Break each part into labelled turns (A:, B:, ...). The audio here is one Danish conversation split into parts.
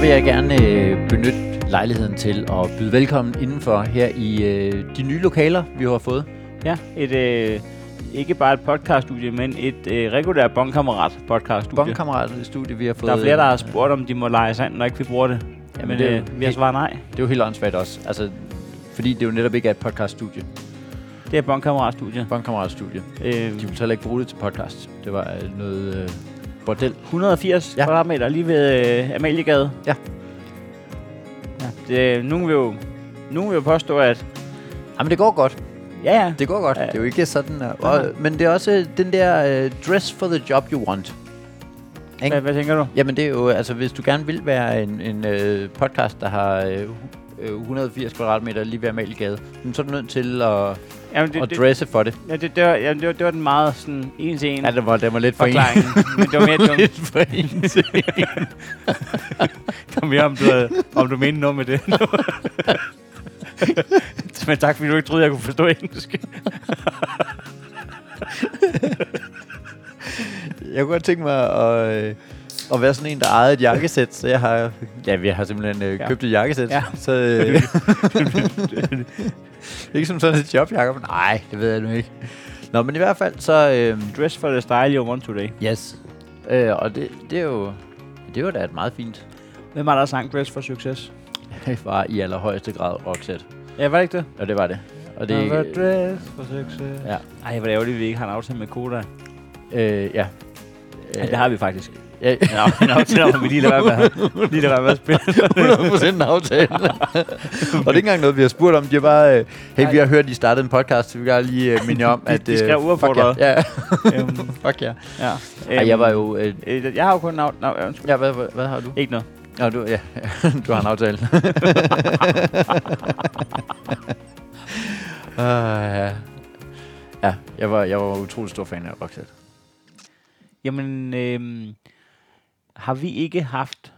A: vil jeg gerne øh, benytte lejligheden til at byde velkommen indenfor her i øh, de nye lokaler, vi har fået.
B: Ja, et, øh, ikke bare et podcaststudie, men et øh, regulært bondkammerat podcaststudie.
A: Bongkammerater i studiet, vi har fået.
B: der er flere, der har
A: øh,
B: spurgt, om de må lege sand, når ikke vi bruger det.
A: Jamen,
B: Jamen, men
A: det er
B: det,
A: jo
B: øh, vi har
A: helt-
B: svaret nej.
A: Det er jo helt åndssvagt også. Altså, fordi det jo netop ikke er et podcaststudie.
B: Det er et bondkammeratstudie.
A: Bongkammeratstudie.
B: Øh,
A: De ville så heller ikke bruge det til podcast. Det var øh, noget øh, bordel.
B: 180
A: Ja.
B: ja. kvadratmeter lige ved øh, Amaliegade.
A: Ja.
B: ja. Det, nogen, vil jo, nogen vil jo påstå, at
A: Jamen, det går godt.
B: ja, ja,
A: Det går godt.
B: Ja.
A: Det er jo ikke sådan. øh,
B: Nej, nej.
A: Og, men det er også øh, den der øh, dress for the job you want.
B: hvad, hvad tænker du?
A: Jamen det er jo, altså hvis du gerne vil være en, en øh, podcast, der har øh, øh, 180 kvadratmeter lige ved Amaliegade, jamen, så er du nødt til at,
B: Jamen,
A: det,
B: det,
A: at
B: det,
A: dresse for det.
B: ja, det, det, var, jamen, det, var, det var den meget sådan, en til en
A: Ja, det var, det var lidt for en.
B: forklaring. Men det var mere, det var,
A: lidt for en.
B: det var mere om, du, havde, om du mente noget med det. Men tak, fordi du ikke troede, jeg kunne forstå engelsk.
A: Jeg kunne godt tænke mig at, øh, at være sådan en, der ejede et jakkesæt, så jeg har, ja, vi har simpelthen øh,
B: Ja.
A: købt et jakkesæt.
B: Ja.
A: Så, øh, ikke som sådan et job, Jacob. Nej, det ved jeg nu ikke. Nå, men i hvert fald, så... Øh,
B: Dress for the style you want today.
A: yes. Øh, og det, det er jo... Det var da et meget fint
B: Hvem har der sang Dress for Success?
A: Det var i allerhøjeste grad Roxette.
B: Ja, var det ikke det?
A: Og det var det. Og det,
B: Another dress for success.
A: Ja.
B: Ej, hvor er det ærgerligt, at vi ikke har en aftale med Koda.
A: øh, ja.
B: Ja, det har vi faktisk.
A: Ja,
B: en aftale om, at vi lige lader være med, lige lader være med at spille.
A: 100% en aftale. og det er ikke engang noget, vi har spurgt om. De har bare, øh, hey,
B: Nej.
A: vi har hørt, I startede en podcast, så vi kan lige øh, minde jer om,
B: De-
A: at...
B: de
A: øh,
B: skrev uaffordret.
A: Fuck ja. ja.
B: Øhm,
A: fuck ja.
B: ja.
A: Ej, jeg var jo... Øh,
B: Øh, Jeg har jo kun en aftale. Nå, ja, undskyld.
A: ja, hvad, hvad, hvad har du?
B: Ikke noget.
A: Nå, du, ja, du har en aftale. uh, ja. ja, jeg var, jeg var utrolig stor fan af Roxette.
B: Jamen, øhm, har vi ikke haft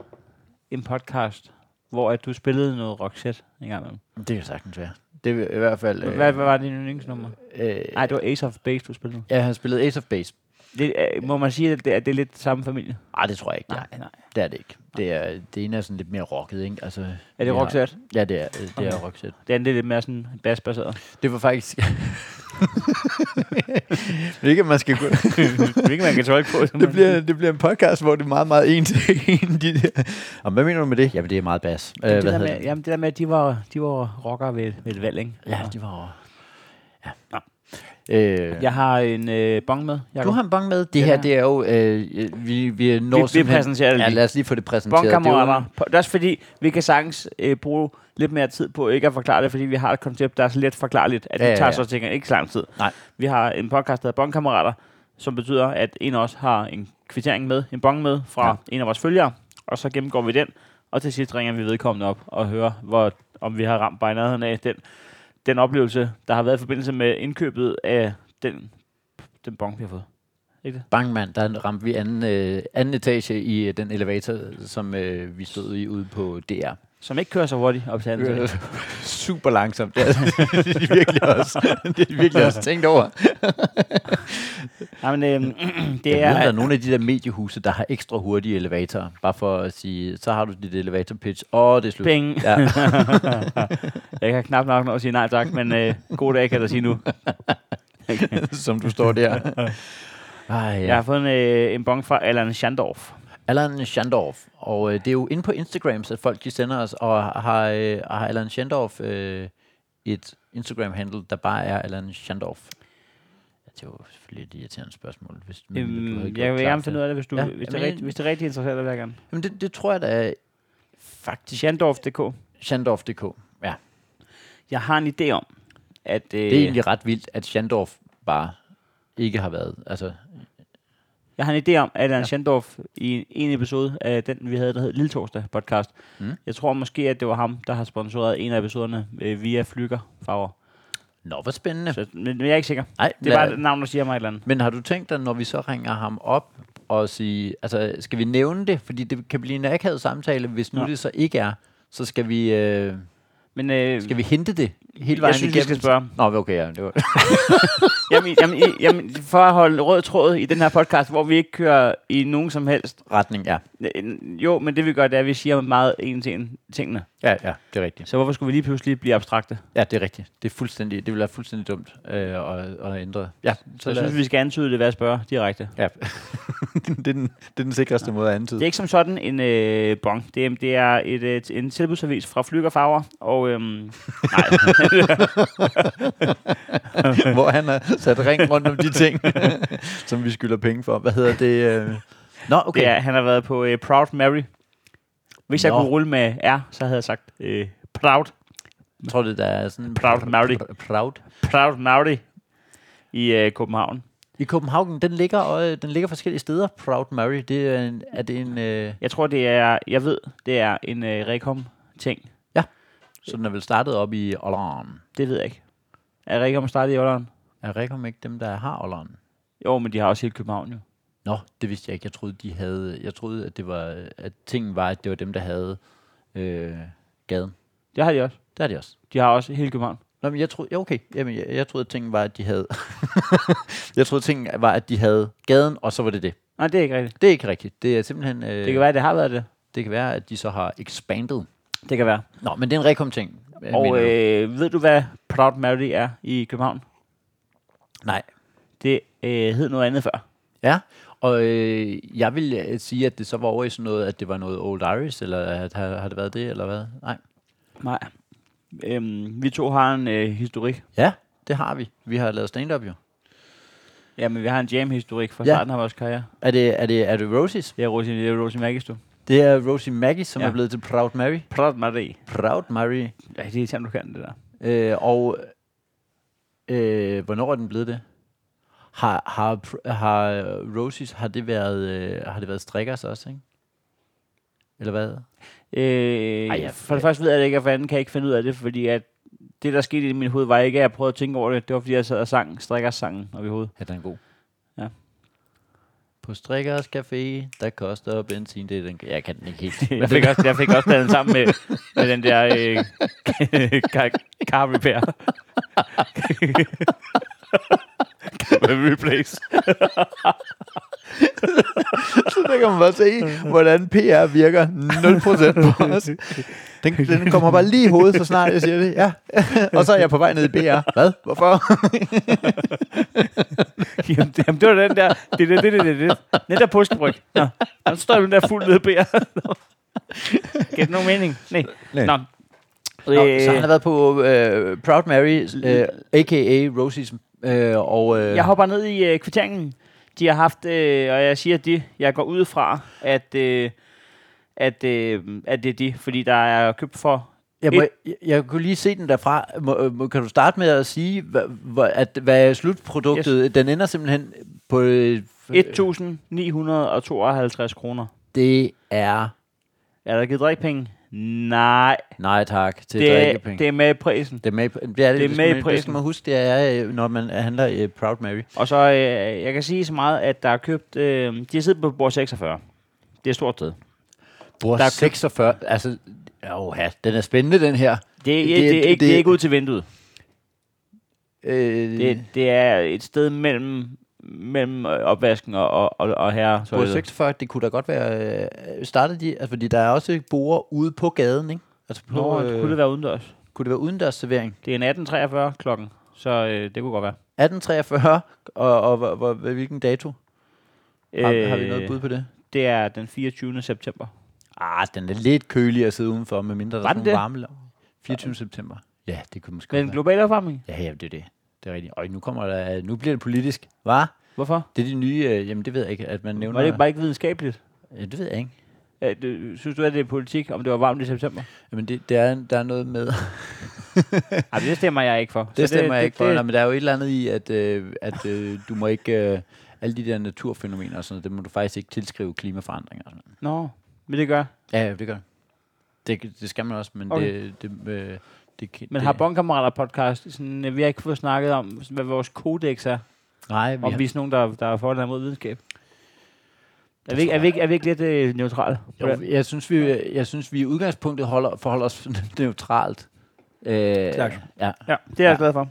B: en podcast, hvor at du spillede noget Roxette en gang imellem?
A: Det kan sagtens være. Det er i hvert fald...
B: Hvad, hvad var din yndlingsnummer?
A: Øh,
B: Nej, det var Ace of Base, du spillede.
A: ja, han spillede Ace of Base.
B: Det, øh, må man sige, at det, at det er lidt samme familie?
A: Nej, det tror jeg ikke. Nej.
B: nej.
A: Det er det ikke. Det, er, det ene er sådan lidt mere rocket, ikke? Altså,
B: Er det
A: vi har-
B: Roxette?
A: Ja, det er, øh, det okay. er
B: Okay.
A: Roxette.
B: Det andet er lidt mere sådan basbaseret.
A: Det var faktisk... ikke, at man skal gå...
B: Hvilket man kan tolke på. som
A: Det
B: man-
A: bliver, det bliver en podcast, hvor det er meget, meget en til en. De der. Og hvad mener du med det? Jamen, det er meget bas. Øh,
B: Jamen, det,
A: hvad
B: der
A: hedder
B: med, jamen, det der med, at de var, de var rockere ved, ved et valg, ikke?
A: Ja, de var over. Ja. Øh,
B: Jeg har en øh, bong med,
A: Du
B: Jacob.
A: har en bank med. Det
B: Ja,
A: her,
B: det
A: det er jo... Øh, vi, vi når
B: Vi- vi
A: simpelthen-
B: præsenterer det
A: Ja,
B: lige.
A: lad os lige få det præsenteret. Det er jo-
B: Bongkammerater. Det, det er også fordi, vi kan sagtens øh, bruge lidt mere tid på ikke at forklare det, fordi vi har et koncept, der er så let forklarligt, at
A: Ja,
B: ja,
A: ja,
B: det tager
A: ja.
B: så tænker, ikke så lang tid.
A: Nej.
B: Vi har en podcast, der hedder Bongkammerater, som betyder, at en af os har en kvittering med, en bong med fra
A: Ja.
B: ja. en af vores følgere, og så gennemgår vi den, og til sidst ringer vi vedkommende op og hører, hvor, om vi har ramt bare i nærheden af den, den oplevelse, der har været i forbindelse med indkøbet af den, den bong, vi har fået.
A: Bangmand, der ramte vi anden, øh, anden etage i øh, den elevator, som øh, vi stod i ude på DR.
B: Som ikke kører så hurtigt op til anden sal.
A: Super langsomt. Det er de virkelig også, det er de virkelig også tænkt over.
B: Nej, men øhm,
A: Det
B: det
A: er, ved, om der er
B: er...
A: nogle af de der mediehuse, der har ekstra hurtige elevatorer. Bare for at sige, så har du dit elevator pitch. Åh, det er slut.
B: Bing.
A: Ja.
B: jeg kan knap nok nå at sige nej tak, men øh, god dag kan jeg da sige nu.
A: som du står der. Ej, ja.
B: Jeg har fået en, øh, en bong fra Alan Shandorf.
A: Allan Shandorf. Og øh, det er jo inde på Instagram, så folk de sender os, og har, øh, har Allan Shandorf øh, et Instagram-handle, der bare er Allan Shandorf? Ja, det er jo selvfølgelig et irriterende spørgsmål. Hvis,
B: Øhm, jeg vil gerne finde ud af det, hvis, du,
A: Ja,
B: ja, hvis, det
A: jamen,
B: er
A: jeg-
B: rigtig, hvis det er rigtig interessant, vil jeg gerne.
A: Jamen, det, det tror jeg da faktisk.
B: Shandorf.dk.
A: Shandorf.dk. Ja,
B: Jeg har en idé om, at... Øh,
A: det er egentlig ret vildt, at Shandorf bare ikke har været. Altså,
B: Jeg har en idé om, at Alan ja. Shandorf i en- en episode af den, vi havde, der hed Lille Torsdag podcast.
A: Mm.
B: Mm. Jeg tror måske, at det var ham, der har sponsoreret en af episoderne øh, via Flygerfarver.
A: nå, hvor spændende.
B: Så, men, men jeg er ikke sikker.
A: Nej,
B: Det er bare et navn, der siger mig et eller andet.
A: Men har du tænkt dig, når vi så ringer ham op og sige, altså skal vi nævne det? Fordi det kan blive en akavet samtale, hvis nu
B: Nå.
A: det så ikke er. Så skal vi, øh,
B: Men, øh,
A: skal vi hente det? hele vejen
B: Jeg synes, vi
A: igennem.
B: skal spørge.
A: Nå, okay, ja, det var...
B: Jamen, jamen, i- jamen, for at holde rød tråd i den her podcast, hvor vi ikke kører i nogen som helst.
A: retning, ja.
B: Jo, men det vi gør, det er, at vi siger meget en til en tingene.
A: Ja, ja, det er rigtigt.
B: Så hvorfor skulle vi lige pludselig blive abstrakte?
A: Ja, det er rigtigt. Det, er fuldstændig, det vil være fuldstændig dumt øh, at, at ændre. Ja,
B: Så jeg
A: lad
B: synes,
A: os-
B: vi skal antyde det ved at spørge direkte.
A: Ja. det, er den, det er den sikreste måde at antyde.
B: Det er ikke som sådan en øh, bong. Det, er- det er et, et, en tilbudsavis fra Flygerfarver. Og øhm,
A: hvor han har sat ring rundt om de ting, som vi skylder penge for. Hvad hedder det? øh? Nå, okay.
B: det er, han har været på øh, Proud Mary. Hvis jeg
A: Nå.
B: kunne rulle med R, så havde jeg sagt øh, Proud.
A: Jeg tror, det der er sådan...
B: Proud Mary.
A: Proud.
B: Proud Mary i øh, København.
A: I København, den ligger, øh, den ligger forskellige steder. Proud Mary, det er, en, er det en... Øh,
B: Jeg tror, det er, jeg ved, det er en øh, Rekom-ting.
A: så den er vel startet op i Olleren.
B: Det ved jeg ikke. Er Rekom startet i Olleren?
A: Er Rekom ikke dem, der har Olleren?
B: Jo, men de har også hele København jo.
A: Nå, det vidste jeg ikke. Jeg troede, de havde, jeg troede at, det var, at tingen var, at det var dem, der havde øh, gaden.
B: Det har de også.
A: Der er de også.
B: De har også hele København.
A: Nå, men jeg troede, ja, okay. Jamen, jeg, jeg troede, at tingen var, at de havde... jeg troede, at tingen var, at de havde gaden, og så var det det.
B: Nej, det er ikke rigtigt.
A: Det er ikke rigtigt. Det er simpelthen... Øh,
B: Det kan være, det har været det.
A: det kan være, at de så har expanded.
B: Det kan være.
A: Nå, men det er en rekom-ting. øh,
B: Og
A: mener du?
B: øh, ved du, hvad Proud Mary er i København?
A: Nej.
B: Det øh, hed noget andet før.
A: Ja, og øh, jeg vil øh, sige, at det så var over i sådan noget, at det var noget Old Irish, eller at, har, har det været det, eller hvad? Nej.
B: Nej. Øhm, vi to har en øh, historik.
A: Ja, det har vi. Vi har lavet stand-up jo.
B: Ja, men vi har en jam-historik fra
A: Ja.
B: ja. starten af vores karriere.
A: Er det, er det, er det Rosies?
B: Det er Rosie, det er Rosie Magistu.
A: Det er Rosie Maggie, som ja.
B: Ja.
A: er blevet til Proud Mary.
B: Proud Mary.
A: Proud Mary.
B: Ja, det er irriterende, du kan det der.
A: Øh, og øh, hvornår er den blevet det? Har, har, pr- har øh, Rosies, har det været, øh, har det været strikkers også, ikke? Eller hvad?
B: Øh,
A: Ej,
B: Ej,
A: jeg-
B: ja. For det første ved jeg det ikke, og for det andet kan jeg ikke finde ud af det, fordi at det, der skete i mit hoved, var ikke, at jeg prøvede at tænke over det. Det var, fordi jeg sad og sang strikkersangen op i hovedet.
A: Ja, den er god.
B: Ja.
A: På strikkers café, der koster benzin. Det er den, jeg kan den ikke helt.
B: Jeg fik også, jeg fik også den sammen med, med den der øh, car, car repair. car replace.
A: der kan man bare se, hvordan PR virker 0% på os. Den, den kommer bare lige i hovedet, så snart jeg siger det. Ja. Og så er jeg på vej ned i BR. Hvad? Hvorfor?
B: Jamen, det, jamen, det var den der, det, det, det, det, det, det. den der påskebryg. Nå, han står jo den der fuld nede bær. Giver det nogen mening? Nej.
A: Nej.
B: Nå.
A: Nå,
B: Øh,
A: så han har været på øh, Proud Mary, øh, a.k.a. Rosies. Øh, og, øh,
B: Jeg hopper ned i øh, kvitteringen. De har haft, øh, og jeg siger de, jeg går ud fra, at, øh, at, øh, at det er de, fordi der er købt for...
A: jeg, må, jeg, jeg kunne lige se den derfra. Må, øh, må, kan du starte med at sige, hva, hva, at, hvad er slutproduktet? Yes. Den ender simpelthen på... Øh,
B: 1.952 kroner.
A: Det er...
B: Er der givet drikkepenge? Nej,
A: Nej tak til
B: det, er,
A: drikkepenge.
B: det er med i prisen.
A: Det er med, i- det er, det, det er med i prisen. Det skal
B: prisen.
A: man huske, det er, øh, når man handler i Proud Mary.
B: Og så, øh, jeg kan sige så meget, at der er købt... Øh, de har siddet på bord 46. Det er et stort sted.
A: Bord
B: Der er købt-
A: 46, altså... Oha, den er spændende, den her.
B: Det, er-
A: Det-
B: det, det,
A: det-
B: er,
A: det-
B: ikke, det er ikke ud til vinduet.
A: Øh,
B: Det, det er et sted mellem, mellem øh, opvasken og, og, og, og herre.
A: Bord 46, det kunne da godt være... Øh, startede de... Altså, fordi der er også borer ude på gaden, ikke? Altså, på,
B: Nå,
A: øh,
B: det kunne det være udendørs?
A: kunne det være udendørs servering?
B: Det er en 1843 klokken, så øh, det kunne godt være.
A: 1843, og, og, og, og hvilken dato? Har, øh, har vi noget bud på det?
B: Det er den 24. september.
A: Ah, den er lidt kølig at sidde udenfor, med mindre der
B: Var
A: er
B: den
A: sådan nogle varme lag. 24. september. Ja, det kunne måske
B: Men
A: godt være.
B: global opvarmning?
A: Ja, ja, det er det. Det er rigtigt. Og nu kommer der, nu bliver det politisk. Hvad?
B: Hvorfor?
A: Det er de nye, øh, jamen det ved jeg ikke, at man nævner.
B: Var det ikke bare ikke videnskabeligt?
A: Ja, det ved jeg ikke.
B: Ja, det, synes du, at det er politik, om det var varmt i september?
A: Jamen det, det er, der er noget med,
B: Ej, det stemmer jeg ikke for. Så
A: det stemmer det, jeg ikke for,
B: Det,
A: Nå, men der er jo et eller andet i, at, øh, at øh, du må ikke, øh, alle de der naturfænomener og sådan noget, det må du faktisk ikke tilskrive klimaforandringer og sådan noget.
B: Nå, men det gør.
A: Ja, ja, det gør det. det. Det skal man også, men
B: Okay.
A: det, det, øh, det, kan-
B: Men
A: det,
B: har Bonkammerater podcast, sådan, øh, vi har ikke fået snakket om, hvad vores kodex er,
A: Nej, vi
B: om
A: har,
B: vi er sådan nogen, der, der er for eller mod videnskab. Er
A: tror
B: vi, ikke, er, vi ikke, er vi ikke lidt øh, neutrale? på den?
A: jo, jeg synes, vi, jeg synes, vi i udgangspunktet holder, forholder os neutralt Øh,
B: Stærkt.
A: ja.
B: Ja, det er jeg
A: Ja.
B: glad for.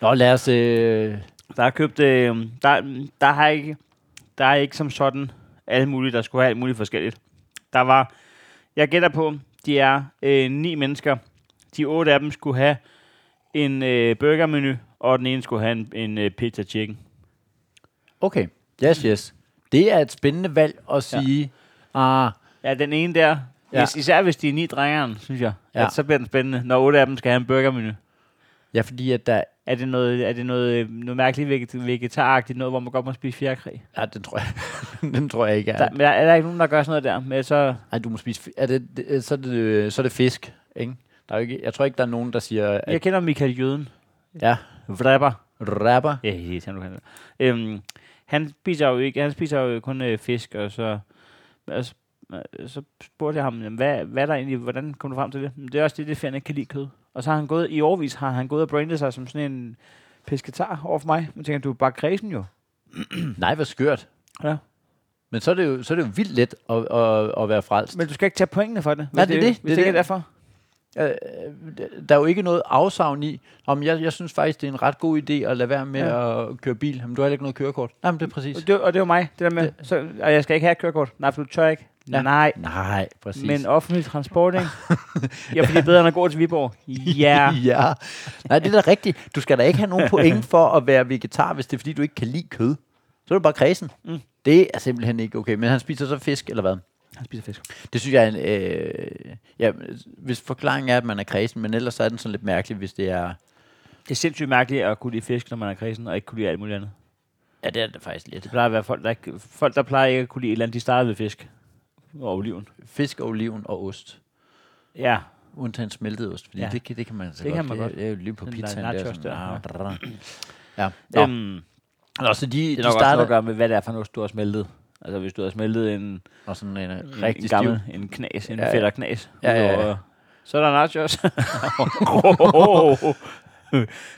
A: Nå, lad os... Øh,
B: Der er købt, øh, der, der, har ikke, der er ikke som sådan alle mulige, der skulle have alt muligt forskelligt. Der var, jeg gætter på, de er øh, ni mennesker. De otte af dem skulle have en øh, burgermenu, og den ene skulle have en, en øh, pizza chicken.
A: okay, yes, yes. Det er et spændende valg at sige, ja. ah,
B: Ja, den ene der,
A: Ja.
B: ja. hvis, især hvis de er ni drengeren, synes jeg,
A: Ja.
B: ja. at så bliver den spændende, når otte af dem skal have en burgermenu.
A: ja, fordi at der...
B: Er det noget, er det noget, øh, noget mærkeligt veget- vegetaragtigt, noget, hvor man godt må spise fjerkræ?
A: Ja, ah, den tror jeg, den tror jeg ikke
B: Ja.
A: er.
B: Der, men er, er der ikke nogen, der gør sådan noget der? Men så,
A: Ej, du må spise... fi- Er det, det, så, er det, øh, så er det fisk, ikke? Der er jo ikke, jeg tror ikke, der er nogen, der siger,
B: jeg
A: at
B: kender Michael Jøden.
A: Ja.
B: Vrapper.
A: rapper...
B: Ja, det er du kan. Øhm, han spiser jo ikke, han spiser jo kun øh, fisk, og så, og så, øh, så spurgte jeg ham, "Jamen, hvad, hvad er der egentlig, hvordan kom du frem til det? "Men Det er også det, det fjerne kan lide kød. Og så har han gået, i årvis har han gået og brandet sig som sådan en pesketar over for mig. Men tænker, jeg, du er bare kredsen jo.
A: Nej, hvor skørt.
B: Ja.
A: Men så er det jo, så er det jo vildt let at, at, at være frelst.
B: Men du skal ikke tage pointene for det, hvis
A: Nej, det er det.
B: Hvis
A: Det er
B: det, ikke er
A: det.
B: derfor.
A: Øh, der er jo ikke noget afsavn i, om jeg, jeg synes faktisk, det er en ret god idé at lade være med ja. at køre bil. Jamen, du har heller ikke noget kørekort. Nej, men det er præcis.
B: Og det, og det er jo mig, det der med, så, og jeg skal ikke have et kørekort. Nej, for du tør ikke.
A: Ja.
B: Ja. Nej.
A: Nej, præcis.
B: Men offentlig transport, ikke? ja, fordi det er bedre end at gå til Viborg. Ja.
A: ja. Nej, det er da rigtigt. Du skal da ikke have nogen point for at være vegetar, hvis det er fordi, du ikke kan lide kød. Så er du bare kredsen. Mm.
B: Mm.
A: Det er simpelthen ikke okay. Men han spiser så fisk, eller hvad?
B: Han spiser fisk.
A: Det synes jeg er en... Øh, ja, hvis forklaringen er, at man er kredsen, men ellers så er den sådan lidt mærkelig, hvis det er...
B: Det er sindssygt mærkeligt at kunne lide fisk, når man er kredsen, og ikke kunne lide alt muligt andet.
A: Ja, det er det faktisk lidt.
B: Det plejer at være folk, der, ikke, folk, der plejer ikke at kunne lide et eller andet, de startede ved fisk og oliven.
A: Fisk, oliven og ost.
B: Ja,
A: Undtagen smeltet ost, fordi ja.
B: Ja.
A: det, kan- det kan man altså
B: Det
A: godt.
B: kan man godt.
A: Det er jo lige på
B: Den der
A: pizzaen der.
B: nachos
A: Sådan,
B: der,
A: ah,
B: ja.
A: drrr. ja. Nå,
B: Nå, Nå,
A: Nå, så de,
B: det er
A: de
B: nok også noget at
A: starter...
B: gøre med, hvad det er for noget, du har smeltet. Altså, hvis du har smeltet en,
A: Og sådan en øh,
B: Rigtig Mm, en
A: rigtig stiv...
B: gammel, en knas,
A: Ja,
B: en
A: ja.
B: ja, fætter knas.
A: Ja, ja, ja.
B: udover- Så er der nachos.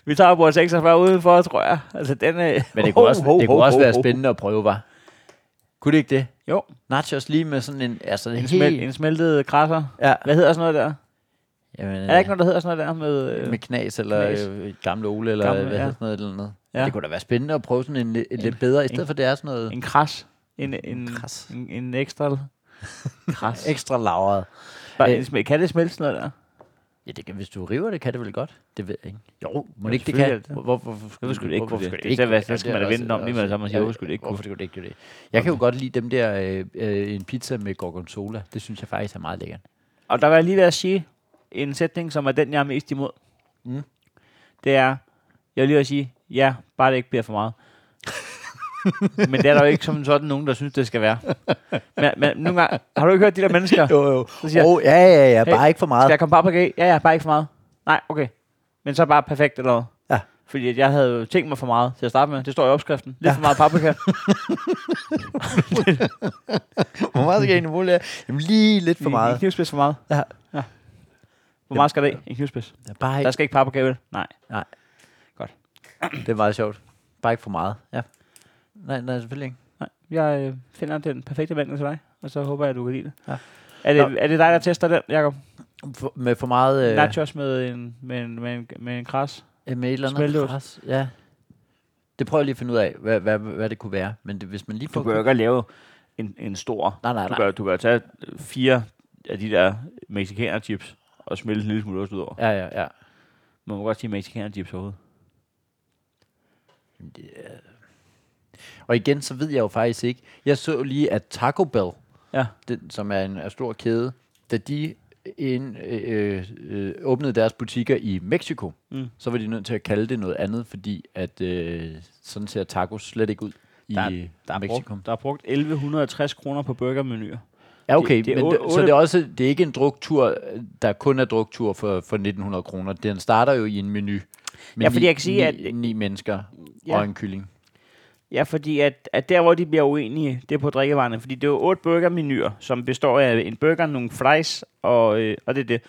B: Vi tager på 46 udenfor, tror jeg. Altså, den, øh,
A: Men det kunne også,
B: ho, ho,
A: det kunne
B: ho,
A: også
B: ho,
A: være
B: ho.
A: spændende at prøve, var. Kunne det ikke det?
B: Jo,
A: Nachos lige med sådan en... Altså,
B: en,
A: helt...
B: smel, en smeltet krasser.
A: Ja.
B: Hvad hedder sådan noget der?
A: Jamen,
B: Er der ikke noget, der hedder sådan noget der med... øh,
A: med knas eller
B: knas.
A: øh, gamle Ole eller
B: Gamle,
A: gamle, hvad
B: ja.
A: ja. sådan noget eller noget. Ja.
B: Ja.
A: Det kunne da være spændende at prøve sådan en, li- en
B: En-
A: lidt bedre, i stedet
B: en-
A: for det er sådan noget
B: En kras. En, en,
A: kras.
B: en, en ekstra kras.
A: ekstra lavret.
B: Bare,
A: Øh.
B: en smel- kan det smelte sådan noget der?
A: Ja, det kan, hvis du river det, kan det vel godt? Det ved jeg ikke. Jo, må
B: Jo,
A: det ikke det
B: selvfølgelig
A: kan?
B: er det det.
A: Hvor, hvor, hvorfor skulle
B: Hvorfor skulle det ikke kunne det?
A: skulle
B: Det er så, hvad- så
A: Ja,
B: skal
A: det
B: man da
A: er
B: vende
A: også-
B: om lige med det samme og sige,
A: ja,
B: hvorfor skulle det ikke
A: Hvorfor
B: kunne?
A: skulle det ikke kunne det? Jeg kan jo godt lide dem der, øh, øh, en pizza med gorgonzola. Det synes jeg faktisk er meget lækkert.
B: Og der var jeg lige ved at sige en sætning, som er den, jeg er mest imod.
A: Mm.
B: Det er, jeg vil lige ved at sige, ja, bare det ikke bliver for meget. Men det er der jo ikke som sådan nogen, der synes, det skal være. Men, men nogle gange, har du ikke hørt de der mennesker?
A: Jo, jo.
B: Så siger jeg,
A: oh, ja, ja, ja,
B: "Hey,
A: bare ikke for meget.
B: Skal jeg komme på APG? Ja, ja, bare ikke for meget. Nej, okay. Men så bare perfekt eller noget.
A: Ja.
B: Fordi at jeg havde jo tænkt mig for meget til at starte med. Det står i opskriften. Lidt ja. for meget paprika.
A: Hvor meget skal jeg egentlig måle? Jamen lige lidt for
B: En
A: meget.
B: knivspids for meget.
A: Ja.
B: ja. Hvor meget skal det i? En knivspids.
A: Ja, bare
B: Der
A: ikke.
B: skal ikke paprika vel? Nej.
A: Det er meget sjovt. Bare ikke for meget. Ja. Nej, nej, selvfølgelig ikke.
B: Nej. Jeg øh, finder den perfekte mængde til dig, og så håber jeg, at du kan lide det.
A: Ja.
B: Er,
A: Nå.
B: det er det dig, der tester den, Jacob?
A: For, med for meget...
B: Øh.
A: Øh,
B: Nachos med en, med en, med en, med en kras?
A: Øh, Med et eller andet
B: Smelteost.
A: pres, ja. Det prøver jeg lige at finde ud af, hvad, hvad, hvad det kunne være. Men det, hvis man lige får...
B: ikke lave en, en stor.
A: Nej, nej, nej.
B: du kan tage fire af de der mexikaner chips og smelte en lille smule ost ud over.
A: Ja, ja, ja.
B: Man må godt sige mexikaner chips overhovedet.
A: Og igen, så ved jeg jo faktisk ikke. Jeg så lige, at Taco Bell,
B: Ja.
A: den, som er en er stor kæde, da de ind, øh, øh, åbnede deres butikker i Mexico, mm.
B: Mm.
A: så var de nødt til at kalde det noget andet, fordi at øh, sådan ser tacos slet ikke ud i
B: Der er-
A: der er Mexico.
B: Brugt, der er brugt 1160 kroner på burgermenuer.
A: Ja, okay, det, det
B: Det- det er
A: men det,
B: otte-
A: så det er også det er ikke en druktur, der kun er druktur for, for 1900 kroner. Den starter jo i en menu. Med
B: Ja, fordi
A: ni,
B: jeg kan sige,
A: ni,
B: at-
A: ni mennesker ja.
B: Ja.
A: og en kylling.
B: Ja, fordi at, at der, hvor de bliver uenige, det er på drikkevarerne. Fordi det er jo otte burgermenuer, som består af en burger, nogle fries, og, øh, og det er det.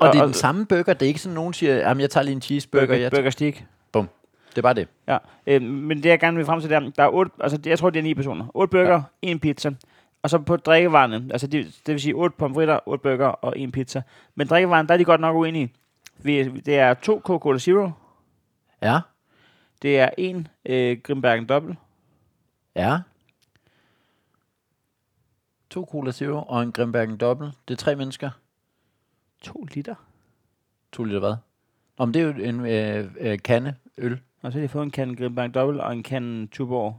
A: Og, det er den samme burger. Det er ikke sådan, nogen siger, jamen jeg tager lige en cheeseburger.
B: burger,
A: jeg tager.
B: burger stick.
A: Det er bare det.
B: Ja. Øh, men det, jeg gerne vil frem til, det er, der er otte, altså det- jeg tror, det er ni personer. Otte burger, en pizza. Og så på drikkevarerne, altså det, det vil sige otte pomfritter, otte burger og en pizza. Men drikkevarerne, der er de godt nok uenige. Vi, det er to Coca-Cola Zero.
A: Ja,
B: Det er en øh, Grimbergen Dobbel.
A: ja. To Cola Zero og en Grimbergen Dobbel. Det er tre mennesker.
B: To liter.
A: To liter hvad? Om det er jo en øh, øh, kande øl.
B: Og så har de fået en kan Grimbergen Dobbel og en kan Tuborg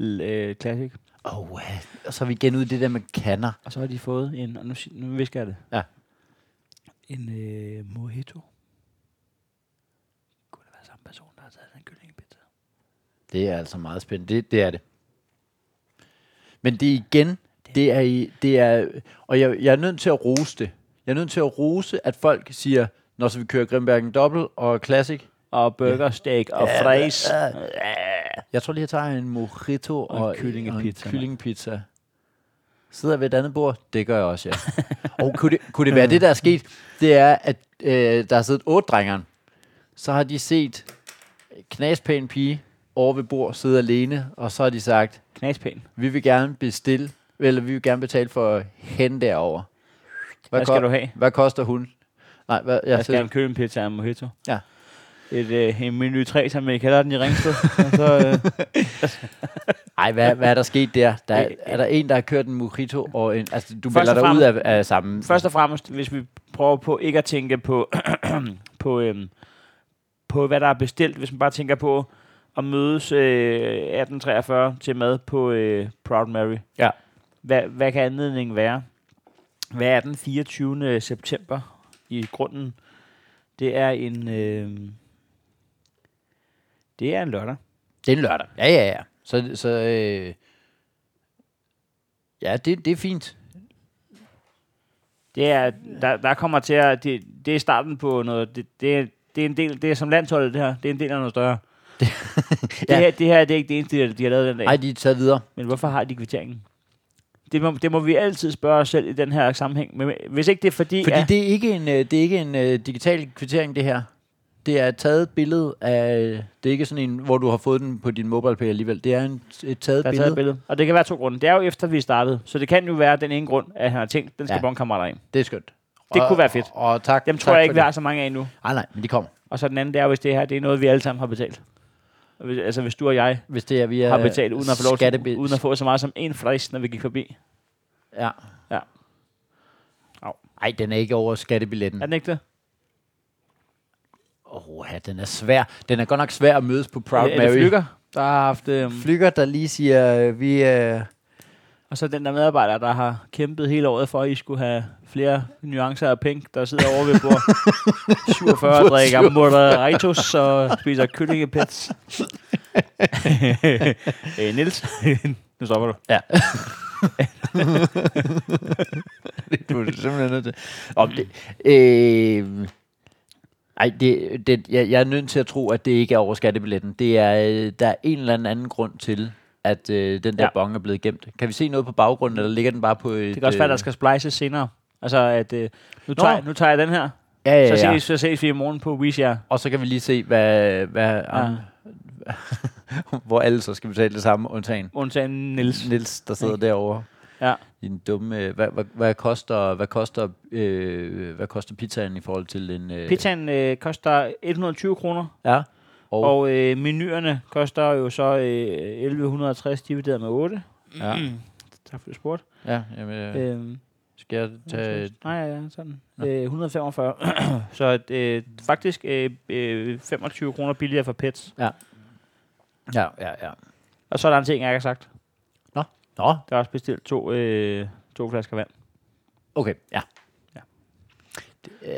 B: L- øh, Classic.
A: Åh, oh, og så er vi igen ude i det der med kanner.
B: Og så har de fået en, og nu, sig- nu visker jeg det.
A: Ja.
B: En øh, mojito. Kunne det være samme person, der har taget den kyllingepizza?
A: Det er altså meget spændende. Det, det er det. Men det er igen, det er, i- det er og jeg, jeg er nødt til at rose det. Jeg er nødt til at rose, at folk siger, når så vi kører Grimbergen Dobbel og Classic.
B: Og burger, steak og
A: Ja,
B: fræs.
A: ja. Jeg tror lige, jeg tager en mojito og,
B: en
A: og
B: kyllingepizza,
A: en
B: mand.
A: kyllingepizza. Sidder ved et andet bord? Det gør jeg også, ja. og kunne det, kunne det
B: Øh.
A: være det, der er sket? Det er, at øh, der har siddet otte drengeren. Så har de set knaspæn pige over ved bord sidde alene, og så har de sagt,
B: Knaspæn.
A: vi vil gerne bestille, eller vi vil gerne betale for hende derover.
B: Hvad skal du have?
A: Hvad koster hun? Nej, hvad, jeg,
B: Jeg skal have en kyllingepizza og en mojito.
A: Ja.
B: Et, øh, en menu 3, som jeg kalder den i Ringsted. og så, øh,
A: Ej, hvad, hvad er der sket der? der er,
B: Øh,
A: er der en, der har kørt en mojito og en... Altså, du
B: Først
A: melder
B: og
A: dig ud
B: fremmest-
A: af, af sammen.
B: Øhm, Først og fremmest, hvis vi prøver på ikke at tænke på, på, øhm, på hvad der er bestilt, hvis man bare tænker på at mødes øh, 1843 til mad på øh, Proud Mary.
A: Ja.
B: Hvad, hvad kan anledningen være? Hvad er den 24. september i grunden? Det er en... Øh, det er en lørdag.
A: Det er en lørdag. Ja, ja, ja. Så, så øh, ja, det, det er fint.
B: Det er, der, der kommer til at... Det, det er starten på noget... Det, det, er- det er en del... Det er som landsholdet, det her. Det er en del af noget større. Det,
A: Ja.
B: ja. her, det her det er ikke det eneste, de har lavet den dag.
A: Ej,
B: Ej.
A: de er taget videre.
B: Men hvorfor har de kvitteringen? Det må, det må vi altid spørge os selv i den her sammenhæng. Men hvis ikke det er fordi...
A: Fordi
B: at,
A: det er ikke en, øh, det er ikke en øh, digital kvittering, det her. Det er et taget billede af... Det er ikke sådan en, hvor du har fået den på din mobile pay alligevel. Det er en, et taget
B: der er
A: billede.
B: taget billede. Og det kan være to grunde. Det er jo efter, vi startede. Så det kan jo være den ene grund, at han har tænkt, den skal
A: Ja.
B: ja. bondkammerater ind.
A: Det er skønt.
B: Det
A: og,
B: kunne være fedt.
A: Og, og tak.
B: Dem
A: tak
B: tror jeg
A: for
B: ikke, vi
A: det.
B: har så mange af nu.
A: Nej, nej, men de kommer.
B: Og så den anden, det er, hvis det her det er noget, vi alle sammen har betalt. Og hvis- Altså hvis du og jeg
A: Hvis det er via
B: har betalt, uden at få, lov til,
A: skattebil-
B: uden at få så meget som en fræs, når vi gik forbi.
A: Ja.
B: Ja.
A: Au. Ej, den er ikke over skattebilletten.
B: Er den ikke det?
A: Åh, ja, den er svær. Den er godt nok svær at mødes på Proud
B: er,
A: Mary.
B: Er det Flygger, der har haft... Øhm,
A: Flygger, der lige siger, øh, vi... Øh,
B: Og så den der medarbejder, der har kæmpet hele året for, at I skulle have flere nuancer af pink, der sidder over ved bord 47 og drikker moderatos og spiser kyllingepets. øh, Nils, nu stopper du.
A: du er simpelthen nødt til. Om det, øh, ej, det, det, jeg, jeg er nødt til at tro, at det ikke er over skattebilletten. Det er, øh, der er en eller anden anden grund til, at øh, den der ja.
B: Ja.
A: bong er blevet gemt. Kan vi se noget på baggrunden, eller ligger den bare på et... øh,
B: Det kan også være, der skal splices senere. Altså, at øh, nu,
A: Nå.
B: tager, nu tager jeg den her,
A: Ja, ja,
B: så,
A: ja.
B: ses, så ses vi i morgen på WeShare.
A: Og så kan vi lige se, hvad, hvad ja. hvor alle så skal betale det samme, undtagen
B: Undtagen Nils.
A: Nils, der sidder derovre.
B: Ja.
A: Din dumme... øh, Hvad, hvad, hvad koster, hvad koster, øh, hvad koster pizzaen i forhold til en... Øh,
B: Pizzaen øh, koster 120 kroner,
A: Ja. Og, og
B: Og øh, menuerne koster jo så øh, 1160 divideret med 8.
A: Ja.
B: tak for det spurgt.
A: ja, jamen, øh,
B: Øh,
A: Skal jeg tage...
B: nej, ja, ja, sådan. Øh, 145. så at, øh, faktisk øh, øh, 25 kroner billigere for pets.
A: Ja, ja, ja.
B: Og så er der en ting, jeg ikke har sagt.
A: Nå,
B: Der er også bestilt to, øh, to flasker vand.
A: okay, ja. ja.
B: Ja.
A: Øh,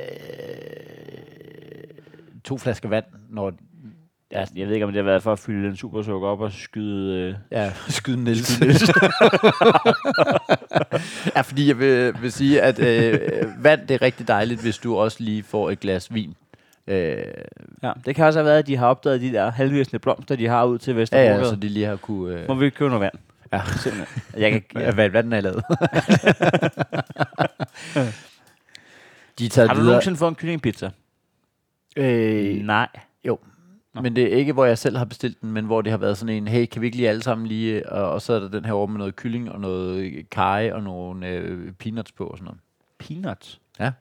A: to flasker vand, når... Ja.
B: Ja. Jeg ved ikke, om det har været for at fylde en supersukker op og skyde... Øh,
A: Ja, skyde Niels. ja, fordi jeg vil, vil sige, at øh, vand, det er rigtig dejligt, hvis du også lige får et glas vin. Øh,
B: ja. Det kan også have været, at de har opdaget de der halvvisende blomster, de har ud til
A: ja,
B: Vesterbro.
A: ja, så de lige har kunne... Øh,
B: Må vi købe noget vand?
A: Ja.
B: Simpelthen. Jeg kan,
A: ja. Hvad, hvad den er lavet. de er taget
B: Har du
A: videre.
B: nogensinde fået en kyllingpizza?
A: Øh,
B: Nej. Nå.
A: Men det er ikke, hvor jeg selv har bestilt den, men hvor det har været sådan en, hey, kan vi ikke lige alle sammen lige, og, og så er der den her over med noget kylling og øh, noget kaj og nogle øh, peanuts på og sådan noget.
B: Peanuts?
A: Ja.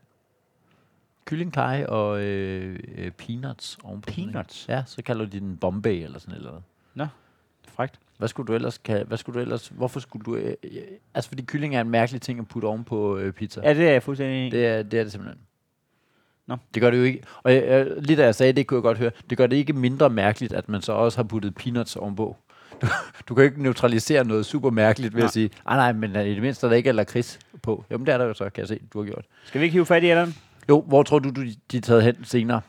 A: kyllingpie og øh, øh, peanuts ovenpå. sådan en.
B: Peanuts?
A: Ja, så kalder de den Bombay eller sådan et eller noget.
B: Frækt.
A: Hvad skulle du ellers, kan, hvad skulle du ellers, hvorfor skulle du, øh, øh, altså fordi kylling er en mærkelig ting at putte ovenpå øh, pizza.
B: Ja, det er jeg fuldstændig enig i.
A: Det er, det er det simpelthen.
B: Nå.
A: Det gør det jo ikke. Og jeg, jeg, lige da jeg sagde det, kunne jeg godt høre, det gør det ikke mindre mærkeligt, at man så også har puttet peanuts ovenpå. Du, du kan jo ikke neutralisere noget super mærkeligt ved
B: Nej.
A: at sige, "Ah, nej nej, men øh, i det mindste er der ikke lakrids på. Jamen det er der jo så, kan jeg se, du har gjort.
B: Skal vi ikke hive fat i Allan?
A: Jo, hvor tror du, du de er taget hen senere?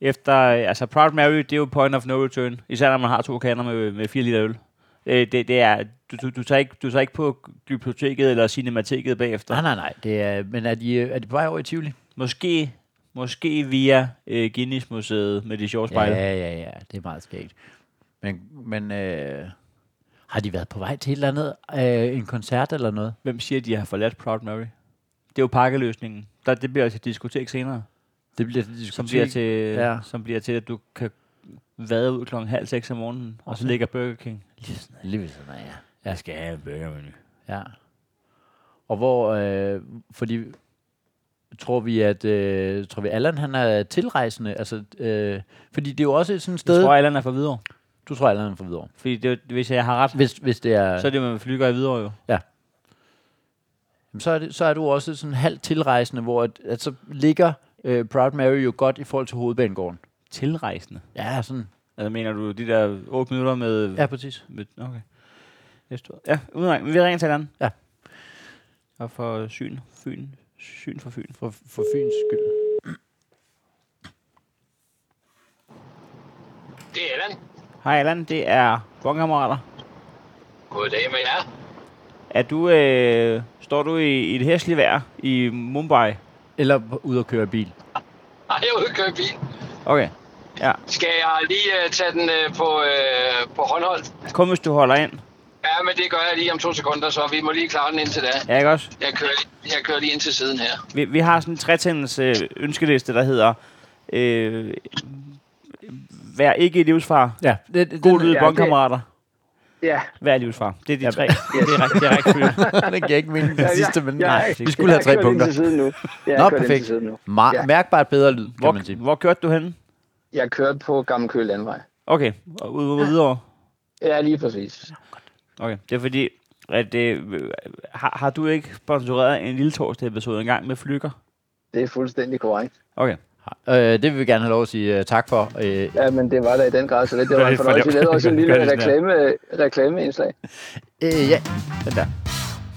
B: Efter, øh, altså Proud Mary, det er jo point of no return. Især når man har to kander med, med 4 liter øl. Øh, det, det er, du, du, du, tager ikke, du tager ikke på glyptoteket eller cinemateket bagefter.
A: Nej, nej, nej. Det er, men er de, øh, er de på vej over i Tivoli?
B: Måske, måske via øh, Guinness-museet med de sjove spejle.
A: Ja, ja, ja. Det er meget skægt. Men, men øh, har de været på vej til et eller andet? Øh, en koncert eller noget?
B: Hvem siger, at de har forladt Proud Mary? Det er jo pakkeløsningen. Der, det bliver til et diskotek senere,
A: Det bliver til
B: som bliver, til,
A: Ja.
B: ja. som bliver til, at du kan vade ud klokken halv seks om morgenen, og så
A: Okay.
B: ligger Burger King.
A: Lige ved sådan, ja.
B: Jeg skal have en burgermenu.
A: Ja. Og hvor, øh, fordi tror vi, at øh, tror vi, Allan han er tilrejsende? Altså, øh, fordi det er jo også et sådan sted...
B: Jeg tror, Allan er fra Hvidovre.
A: du tror, Allan er fra Hvidovre.
B: Fordi det, hvis jeg har ret,
A: Hvis, hvis det er...
B: så er det med flyger i Hvidovre jo.
A: Jamen, så, er det, så er du også sådan halvt tilrejsende, hvor at, at så ligger øh, Proud Mary jo godt i forhold til hovedbanegården.
B: Tilrejsende.
A: Ja, sådan.
B: Altså mener du de der 8 minutter med...
A: Ja, præcis.
B: med okay. Jeg står. Ja, udmærket. Men Vi ringer til Allan.
A: Ja.
B: Og for syn. Fyn. Syn for Fyn.
A: For, for Fyns skyld.
C: Det er Allan.
B: Hej Allan, det er bongkammerater.
C: Goddag med jer.
B: Er du, øh, står du i, i et hæsligt vejr i Mumbai?
A: Eller på- ud og køre bil.
C: Ej, jeg er ude at køre bil.
B: Okay. Ja,
C: Skal jeg lige uh, tage den uh, på, uh, på håndhold?
B: kun hvis du holder ind.
C: Ja, men det gør jeg lige om to sekunder, så vi må lige klare den indtil da.
B: Ja, ikke også?
C: Jeg kører, lige- jeg kører lige ind til siden her.
B: Vi, vi har sådan en trætændens øh, ønskeliste, der hedder... Øh, vær ikke i livsfar.
A: Ja, det, det,
B: God
A: den-
B: lyd, bongkammerater.
D: Ja,
B: Vær i livsfar. Det er de tre. Det er rigtig, det er rigtig
A: den giver ikke mening den
D: Ja,
A: sidste, men
D: ja,
A: nej,
D: ja,
A: vi skulle have tre punkter.
D: Jeg har kørt ind til siden nu. Jeg
A: Nå,
D: har kørt ind
A: perfekt.
D: til siden nu.
A: Ma-
D: Ja.
A: Mærkbart bedre lyd, kan man
B: Hvor,
A: sige.
B: hvor kørte du hen?
D: Jeg kørte på Gammel Køge Landvej.
B: Okay, og ude ude videre.
D: Ja, lige præcis.
B: Okay, det er fordi, at øh, har, har du ikke sponsoreret en lille torsdag episode engang med flykker?
D: Det er fuldstændig korrekt.
B: Okay.
A: Øh, det vil vi gerne have lov at sige øh, tak for. Øh,
D: Ja, men det var da i den grad så lidt. Det
B: Gør
D: var en
B: det for
D: fornøjelse.
B: lavt.
D: Jeg lavede også en lille
B: Gør det sådan
D: reklame, reklameindslag.
A: øh, ja.
B: Den der.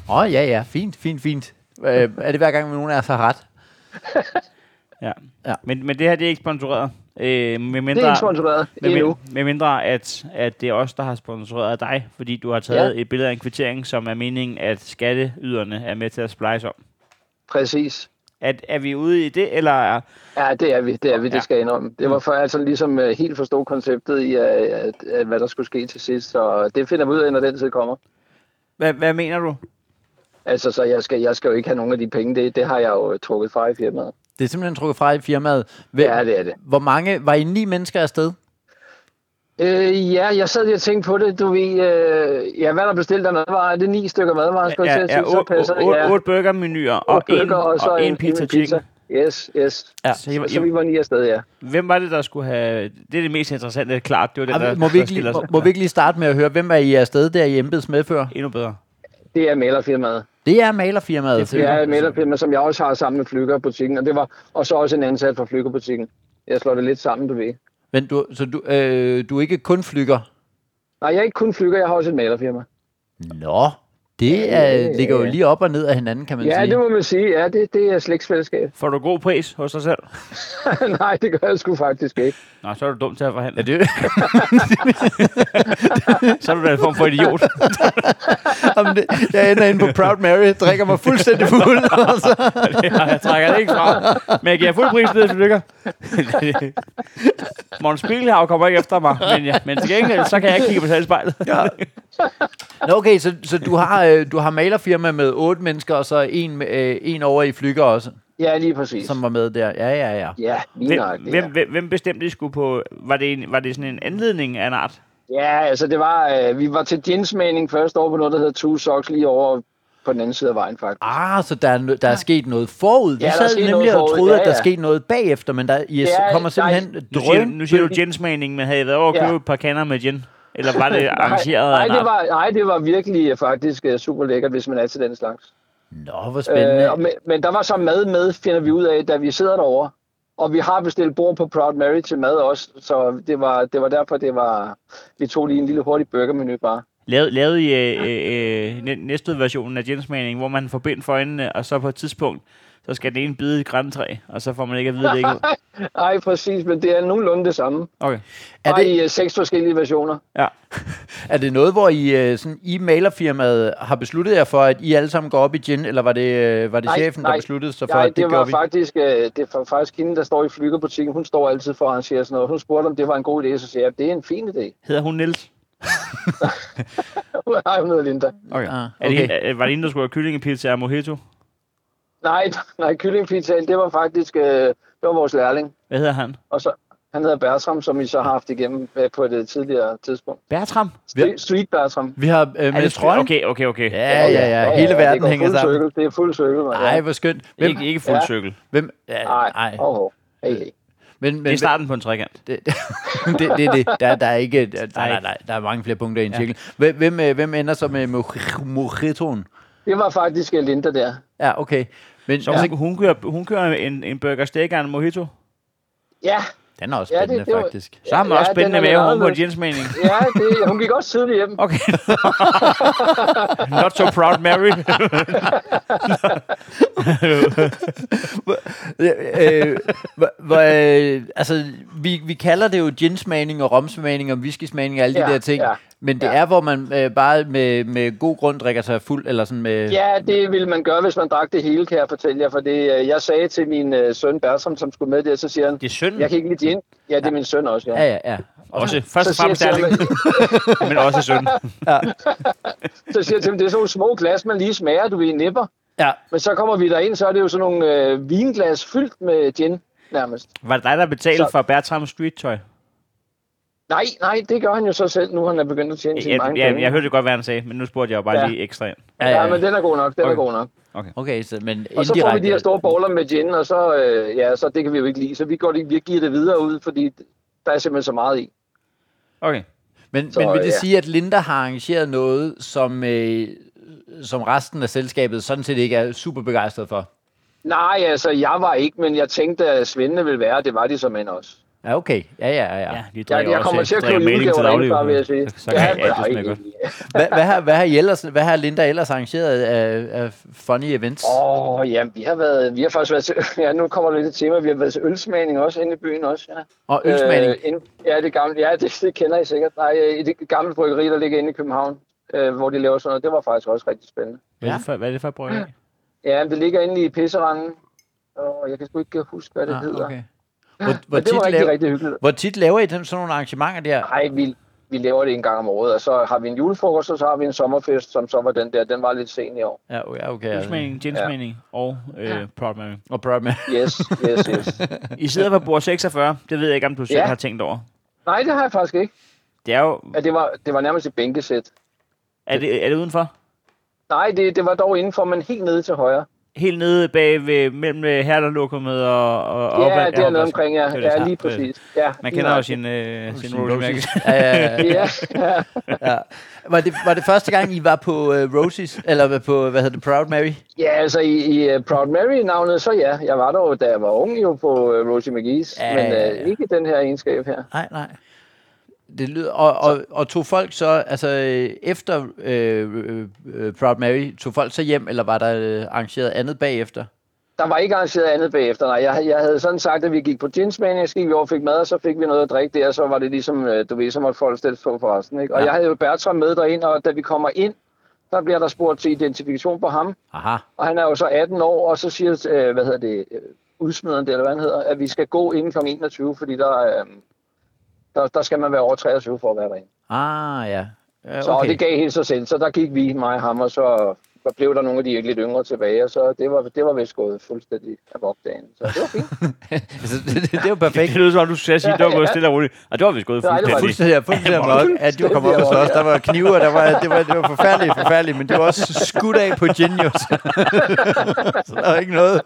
A: Åh, oh, ja, ja. Fint, fint, fint. Øh, er det hver gang, nogen af os har ret?
B: Ja.
A: Ja.
B: ja. Men, men det her, det er ikke sponsoreret. Øh, med mindre,
D: Det er ikke E sponsoreret
B: med,
D: endnu.
B: med, med mindre, at, at det er os, der har sponsoreret dig, fordi du har taget ja. et billede af en kvittering, som er meningen, at skatteyderne er med til at splice om.
D: Præcis.
B: Er, er vi ude i det, eller er...
D: Ja, det er vi. Det er vi,
B: Ja. Mm.
D: det skal jeg indrømme. Det var før jeg sådan ligesom øh, helt forstod konceptet i, at, at, at, hvad der skulle ske til sidst. Så det finder vi ud af, når den tid kommer.
B: Hvad, hvad mener du?
D: Altså, så jeg skal, jeg skal jo ikke have nogen af de penge. Det, det har jeg jo øh, trukket fra i firmaet.
A: Det er simpelthen trukket fra i firmaet. Hvem,
D: Ja, det er det.
A: Hvor mange? Var I ni mennesker afsted?
D: Øh, ja, jeg sad lige og tænkte på det. Du ved, øh, ja, hvad er der bestilt af madvarer? Er det ni stykker madvarer, skulle jeg til at sige? Så passer det, ja.
B: otte burgermenuer og,
D: Otte
B: en,
D: stykker,
B: og,
D: så
B: en pizza chicken.
D: Yes, yes.
B: Ja,
D: Så,
B: så I var-
D: så vi var ni afsted, ja.
B: Hvem var det, der skulle have... Det er det mest interessante, det er klart. Det var den,
A: Ej,
B: der,
A: må, vi
B: der
A: ikke lige,
B: skiller
A: må,
B: sig.
A: må vi ikke lige starte med at høre, hvem er I afsted der i embeds medfører?
B: Endnu bedre.
D: Det er malerfirmaet.
A: Det er malerfirmaet.
B: Det altså. er
D: Det
A: ja.
D: er malerfirmaet, som jeg også har sammen med Flyggerbutikken. Og, det var, og så også en ansat fra Flyggerbutikken. Jeg slår det lidt sammen, du ved.
A: Men du, så du, øh, du er ikke kun flyger?
D: Nej, jeg er ikke kun flygger, jeg har også et malerfirma.
A: Nå, det er, ligger jo lige op og ned af hinanden, kan man
D: Ja,
A: sige.
D: det må man sige. Ja, det, det er slægtsfællesskab.
B: Får du god pris hos dig selv?
D: Nej, det gør jeg sgu faktisk ikke.
B: Nå, så er du dum til at forhandle.
A: Er det,
B: Så er du da en form for idiot.
A: Jamen, det, jeg ender inde på Proud Mary, drikker mig fuldstændig fuld. Altså. og så-
B: jeg trækker det ikke fra. Men jeg giver fuld pris ned, hvis du lykker. Måns Spielhav kommer ikke efter mig, men, ja, men til gengæld, så kan jeg ikke kigge på selvspejlet.
A: ja. Nå, okay, så, så du, har, øh, du har malerfirma med otte mennesker, og så en, øh, en over i Flygger også,
D: Ja, lige præcis.
A: som var med der. Ja, ja, ja.
D: Ja, lige
B: Hvem,
D: nøjagtigt, ja.
B: hvem, hvem, hvem bestemte, I skulle på... Var det, en, var det sådan en anledning af en art?
D: Ja, altså det var, øh, vi var til ginsmagning første år på noget, der hedder Two Socks lige over på den anden side af vejen, faktisk.
A: Ah, så der er, nø- der er sket noget forud. Vi
D: Ja,
A: ja,
D: der er
A: sad
D: sket
A: nemlig
D: noget
A: og
D: forud.
A: troede,
D: Ja,
A: at der
D: ja.
A: skete noget bagefter, men der I
D: Ja,
A: kommer
D: nej.
A: simpelthen
B: Nu siger,
A: drøn.
B: nu siger du ginsmagning, men havde I været over at
D: Ja.
B: købe et par kander med gin? Eller var det arrangeret?
D: nej,
B: af en
D: nej,
B: aften?
D: det var, nej, det var virkelig øh, faktisk øh, super lækkert, hvis man er til den slags.
A: Nå, hvor spændende.
D: Øh, og men, men der var så mad med, finder vi ud af, da vi sidder derovre. Og vi har bestilt bord på Proud Mary til mad også, så det var, det var derfor, det var, vi tog lige en lille hurtig burgermenu bare.
B: Lavede, lavede I øh, øh, øh, næste versionen af ginsmagning, hvor man får bind for øjnene, og så på et tidspunkt, så skal den ene bide i et græntræ, og så får man ikke at vide det ikke. ud.
D: Nej, præcis, men det er nogenlunde det samme.
B: Okay.
A: Er
D: Er
A: det-
D: det... i øh, seks forskellige versioner.
B: Ja.
A: Er det noget, hvor I, øh, sådan, I malerfirmaet har besluttet jer for, at I alle sammen går op i gin, eller var det, øh, var det
D: Nej,
A: chefen, der
D: nej.
A: besluttede sig for,
D: Nej,
A: at det, det
D: det, var
A: gjorde vi?
D: faktisk, øh, det var faktisk hende, der står i flygerbutikken. Hun står altid for at arrangere sådan noget. Hun spurgte, om det var en god idé, så sagde jeg, at det er en fin idé.
B: Hedder hun Niels?
D: Nej, hun hedder Linda.
B: Okay.
A: Ah,
B: Er det,
A: okay.
B: hende- er, var det en, der skulle have kyllingepizza og mojito?
D: Nej, nej, kyllingpizzaen, det var faktisk, øh, det var vores lærling.
B: Hvad hedder han?
D: Og så, han hedder Bertram, som I så har haft igennem øh, på et øh, tidligere tidspunkt.
B: Bertram?
D: Street, street Bertram.
A: Vi har øh, med trolden.
B: Okay, okay, okay.
A: Ja, ja, ja. Hele
D: det
A: verden
D: går
A: hænger
D: fuld
A: sammen.
D: Cirkel. Det er fuld cirkel, man.
A: Nej, hvor skønt. Hvem,
B: Ikke, ikke fuld
D: Ja.
B: cirkel. Det
A: hvem, ja,
D: nej.
A: nej.
D: Oh, oh. Hey, hey.
A: Men, men,
B: er starten på en trekant.
A: Det, det, det, det, det. Der, der er ikke... Der, nej, nej, nej, der er mange flere punkter i en cirkel. Hvem, hvem, øh, hvem ender så med moj- mojitoen?
D: Det var faktisk øh, Linda der.
A: Ja, okay. Men
B: Så hun, hun, kører, hun kører en, en burger steak og en mojito.
D: Ja,
A: den er også
D: ja, det-
A: spændende,
D: det var-
A: faktisk.
B: Så har man
D: Ja,
B: også spændende
D: den
B: med,
D: er lidt
B: hun på
D: anderledes.
B: ginsmagning.
D: ja det, hun gik også tidligt hjem.
B: Okay. Not so proud, Mary.
A: Øh, øh, hvor- hvor, øh, altså, vi, vi kalder det jo ginsmagning og romsmagning og whiskysmagning og alle
D: Ja,
A: de der ting.
D: ja,
A: men det
D: ja.
A: er, hvor man øh, bare med, med god grund drikker sig fuld, eller sådan med...
D: Ja, det ville man gøre, hvis man drak det hele, kan jeg fortælle jer. For det, øh, jeg sagde til min øh, søn Bertram, som skulle med der, så siger han,
B: Det er synd.
D: jeg kan ikke lide gin. Ja, det er min søn også, ja.
A: ja, ja. ja.
B: Også, først
D: Så
B: og
D: siger, jeg
B: fremmest
D: til ham,
B: ærlig, men også synd.
D: så siger jeg til ham, det er sådan nogle små glas, man lige smager, du ved, nipper.
A: ja.
D: Men så kommer vi derind, så er det jo sådan nogle øh, vinglas fyldt med gin, nærmest.
B: Var det dig, der betalte
D: Så-
B: for Bertram Street Tøj?
D: Nej, nej, det gør han jo så selv, nu han er begyndt at tjene sine
B: Jeg,
D: mange
B: jeg,
D: penge.
B: jeg hørte det godt, hvad han sagde, men nu spurgte jeg jo bare
D: Ja.
B: lige ekstra ind.
A: Ja,
D: Ja,
A: ja,
D: men
A: ja.
D: den er god nok, den
B: Okay.
D: er god nok.
A: Okay, så, men
D: Og så får vi de her
A: indirekte-
D: store boller med gin, og så, øh, ja, så det kan vi jo ikke lide. Så vi, går, lige- vi giver det videre ud, fordi der er simpelthen så meget i.
B: Okay.
A: Men,
D: Så,
A: men vil det
D: ja.
A: sige, at Linda har arrangeret noget, som, øh, som resten af selskabet sådan set ikke er super begejstret for?
D: Nej, altså, jeg var ikke, men jeg tænkte, at svindene ville være, og det var de som end også.
A: Ja, okay. Ja, ja, ja. ja.
B: Ja, de
D: Jeg,
B: drikker
D: jeg
B: også-
D: kommer til at
B: drikker
D: købe
B: maling
D: julegaver derinde,
B: daglig,
D: bare vil jeg sige.
B: jo. Så, så kan jeg, ja, det smager
D: nej.
B: godt.
A: Hvad, hvad, har, hvad, har I ellers, hvad har Linda ellers arrangeret af, af funny events?
D: Åh, oh, ja, vi har, været, vi har faktisk været til, ja, nu kommer der lidt et tema, vi har været til ølsmagning også inde i byen også, ja.
A: Og ølsmagning?
D: Øh, inde, ja, det gamle, ja, det, det, kender I sikkert. Nej, øh, i det gamle bryggeri, der ligger inde i København, øh, hvor de laver sådan noget, det var faktisk også rigtig spændende.
B: Hvad er det for, hvad er det for brød?
D: Ja, men det ligger inde i pisseranden, og jeg kan sgu ikke huske, hvad det ah, hedder. Okay.
A: Hvor, hvor,
D: Men det
A: tit
D: var rigtig,
A: laver,
D: rigtig hyggeligt.
A: hvor tit laver I den, sådan nogle arrangementer der?
D: Nej, vi, vi laver det en gang om året, og så har vi en julefrokost, og så har vi en sommerfest, som så var den der. Den var lidt sen i år.
A: Ja, ja okay. Ja.
B: Ginsmagning, ginsmagning og øh, Proud Mary.
A: Og prøv med.
D: Yes, yes, yes.
B: I sidder på bord 46. Det ved jeg ikke, om du selv
D: Ja.
B: har tænkt over.
D: Nej, det har jeg faktisk ikke.
B: Det er jo...
D: Ja, det, var, det var nærmest et bænkesæt.
B: Er det, er det udenfor?
D: Nej, det, det var dog indenfor, men helt nede til højre.
B: Helt nede bag ved, mellem herderlokummet og, og, og
D: Ja,
B: opad-
D: det er noget
B: opad-
D: omkring, ja.
B: Det er det,
D: ja,
B: ja.
D: lige
B: Det er det.
D: præcis. Ja,
B: Man kender
D: lige
B: jo sin,
D: nøjagtigt.
B: øh, sin
A: Sin
B: Rosemary.
A: Roses. Ja, ja, ja.
D: Ja,
A: Var, det, var det første gang, I var på uh, Roses? Eller på, hvad hedder det, Proud Mary?
D: ja altså i, i øh, Proud Mary-navnet, så ja. Jeg var der jo, da jeg var ung jo på øh, Rosie McGee's,
A: Ja,
D: men øh,
A: ja, ja.
D: ikke den her egenskab her.
A: Nej, nej. Det lyder, og, og, og tog folk så, altså øh, efter øh, øh, øh, Proud Mary, tog folk så hjem, eller var der øh, arrangeret andet bagefter?
D: Der var ikke arrangeret andet bagefter. Nej, jeg, jeg havde sådan sagt, at vi gik på ginsmagning, så gik vi over og fik mad, og så fik vi noget at drikke der, så var det ligesom, øh, du ved, så måtte folk stille på for resten. Ikke? Og
A: Ja.
D: jeg havde jo Bertram med derind, og da vi kommer ind, der bliver der spurgt til identifikation på ham,
A: Aha.
D: og han er jo så 18 år, og så siger, øh, hvad hedder det, øh, udsmideren der, eller hvad han hedder, at vi skal gå inden kl. 21, fordi der, øh, der, der skal man være over 23 for at være derinde.
A: Ah, ja. Ja,
D: Så okay. det gav helt sig selv, så der gik vi, mig og ham, og så der blev der nogle af de lidt yngre tilbage, og så det var, det var vist gået fuldstændig amok dagen. Så det var fint.
A: altså, det, det, det, er jo
B: Det
A: perfekt.
B: lyder som, om, du sagde, sige, det var gået stille og roligt. Og det var vi gået
D: Nej, det var
B: fuldstændig.
A: Fuldstændig, jeg er fuldstændig amok, at de var kommet op hos os. Der var knive, og der var, det, var, det var forfærdeligt, forfærdeligt, men det var også skudt af på genius. så der var ikke noget.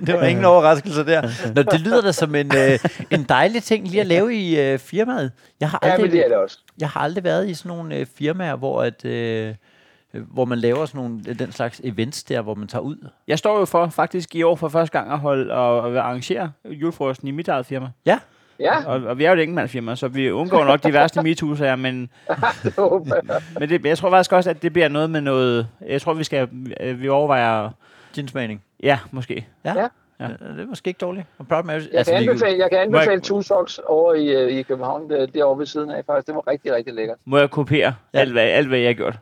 A: det var ingen overraskelse der. Nå, det lyder da som en, øh, en dejlig ting lige at lave i øh, firmaet. Jeg har
D: Ja, men
A: aldrig,
D: det er det også.
A: jeg har aldrig været i sådan nogle øh, firmaer, hvor, at, øh, øh, hvor man laver sådan nogle, den slags events der, hvor man tager ud.
B: Jeg står jo for faktisk i år for første gang at holde og, og arrangere julefrokosten i mit eget firma.
A: Ja,
D: Ja,
B: Og, og vi er jo et enkeltmandsfirma, så vi undgår nok de værste MeToo-sager, men,
D: det håber jeg.
B: men det, jeg tror faktisk også, at det bliver noget med noget... Jeg tror, vi skal øh, vi overvejer...
A: ginsmagning.
B: Ja, måske.
A: Ja.
D: Ja.
A: ja. ja. Det er måske ikke dårligt. Og Proud altså, Mary, vi-
D: Jeg kan anbefale, Altså, jeg kan
B: Må jeg-
D: anbefale Two Socks over i, øh, i København, der- derovre ved siden af faktisk. Det var rigtig, rigtig lækkert.
B: Må jeg kopiere
A: Ja.
B: ja. alt, hvad, alt, hvad jeg har gjort?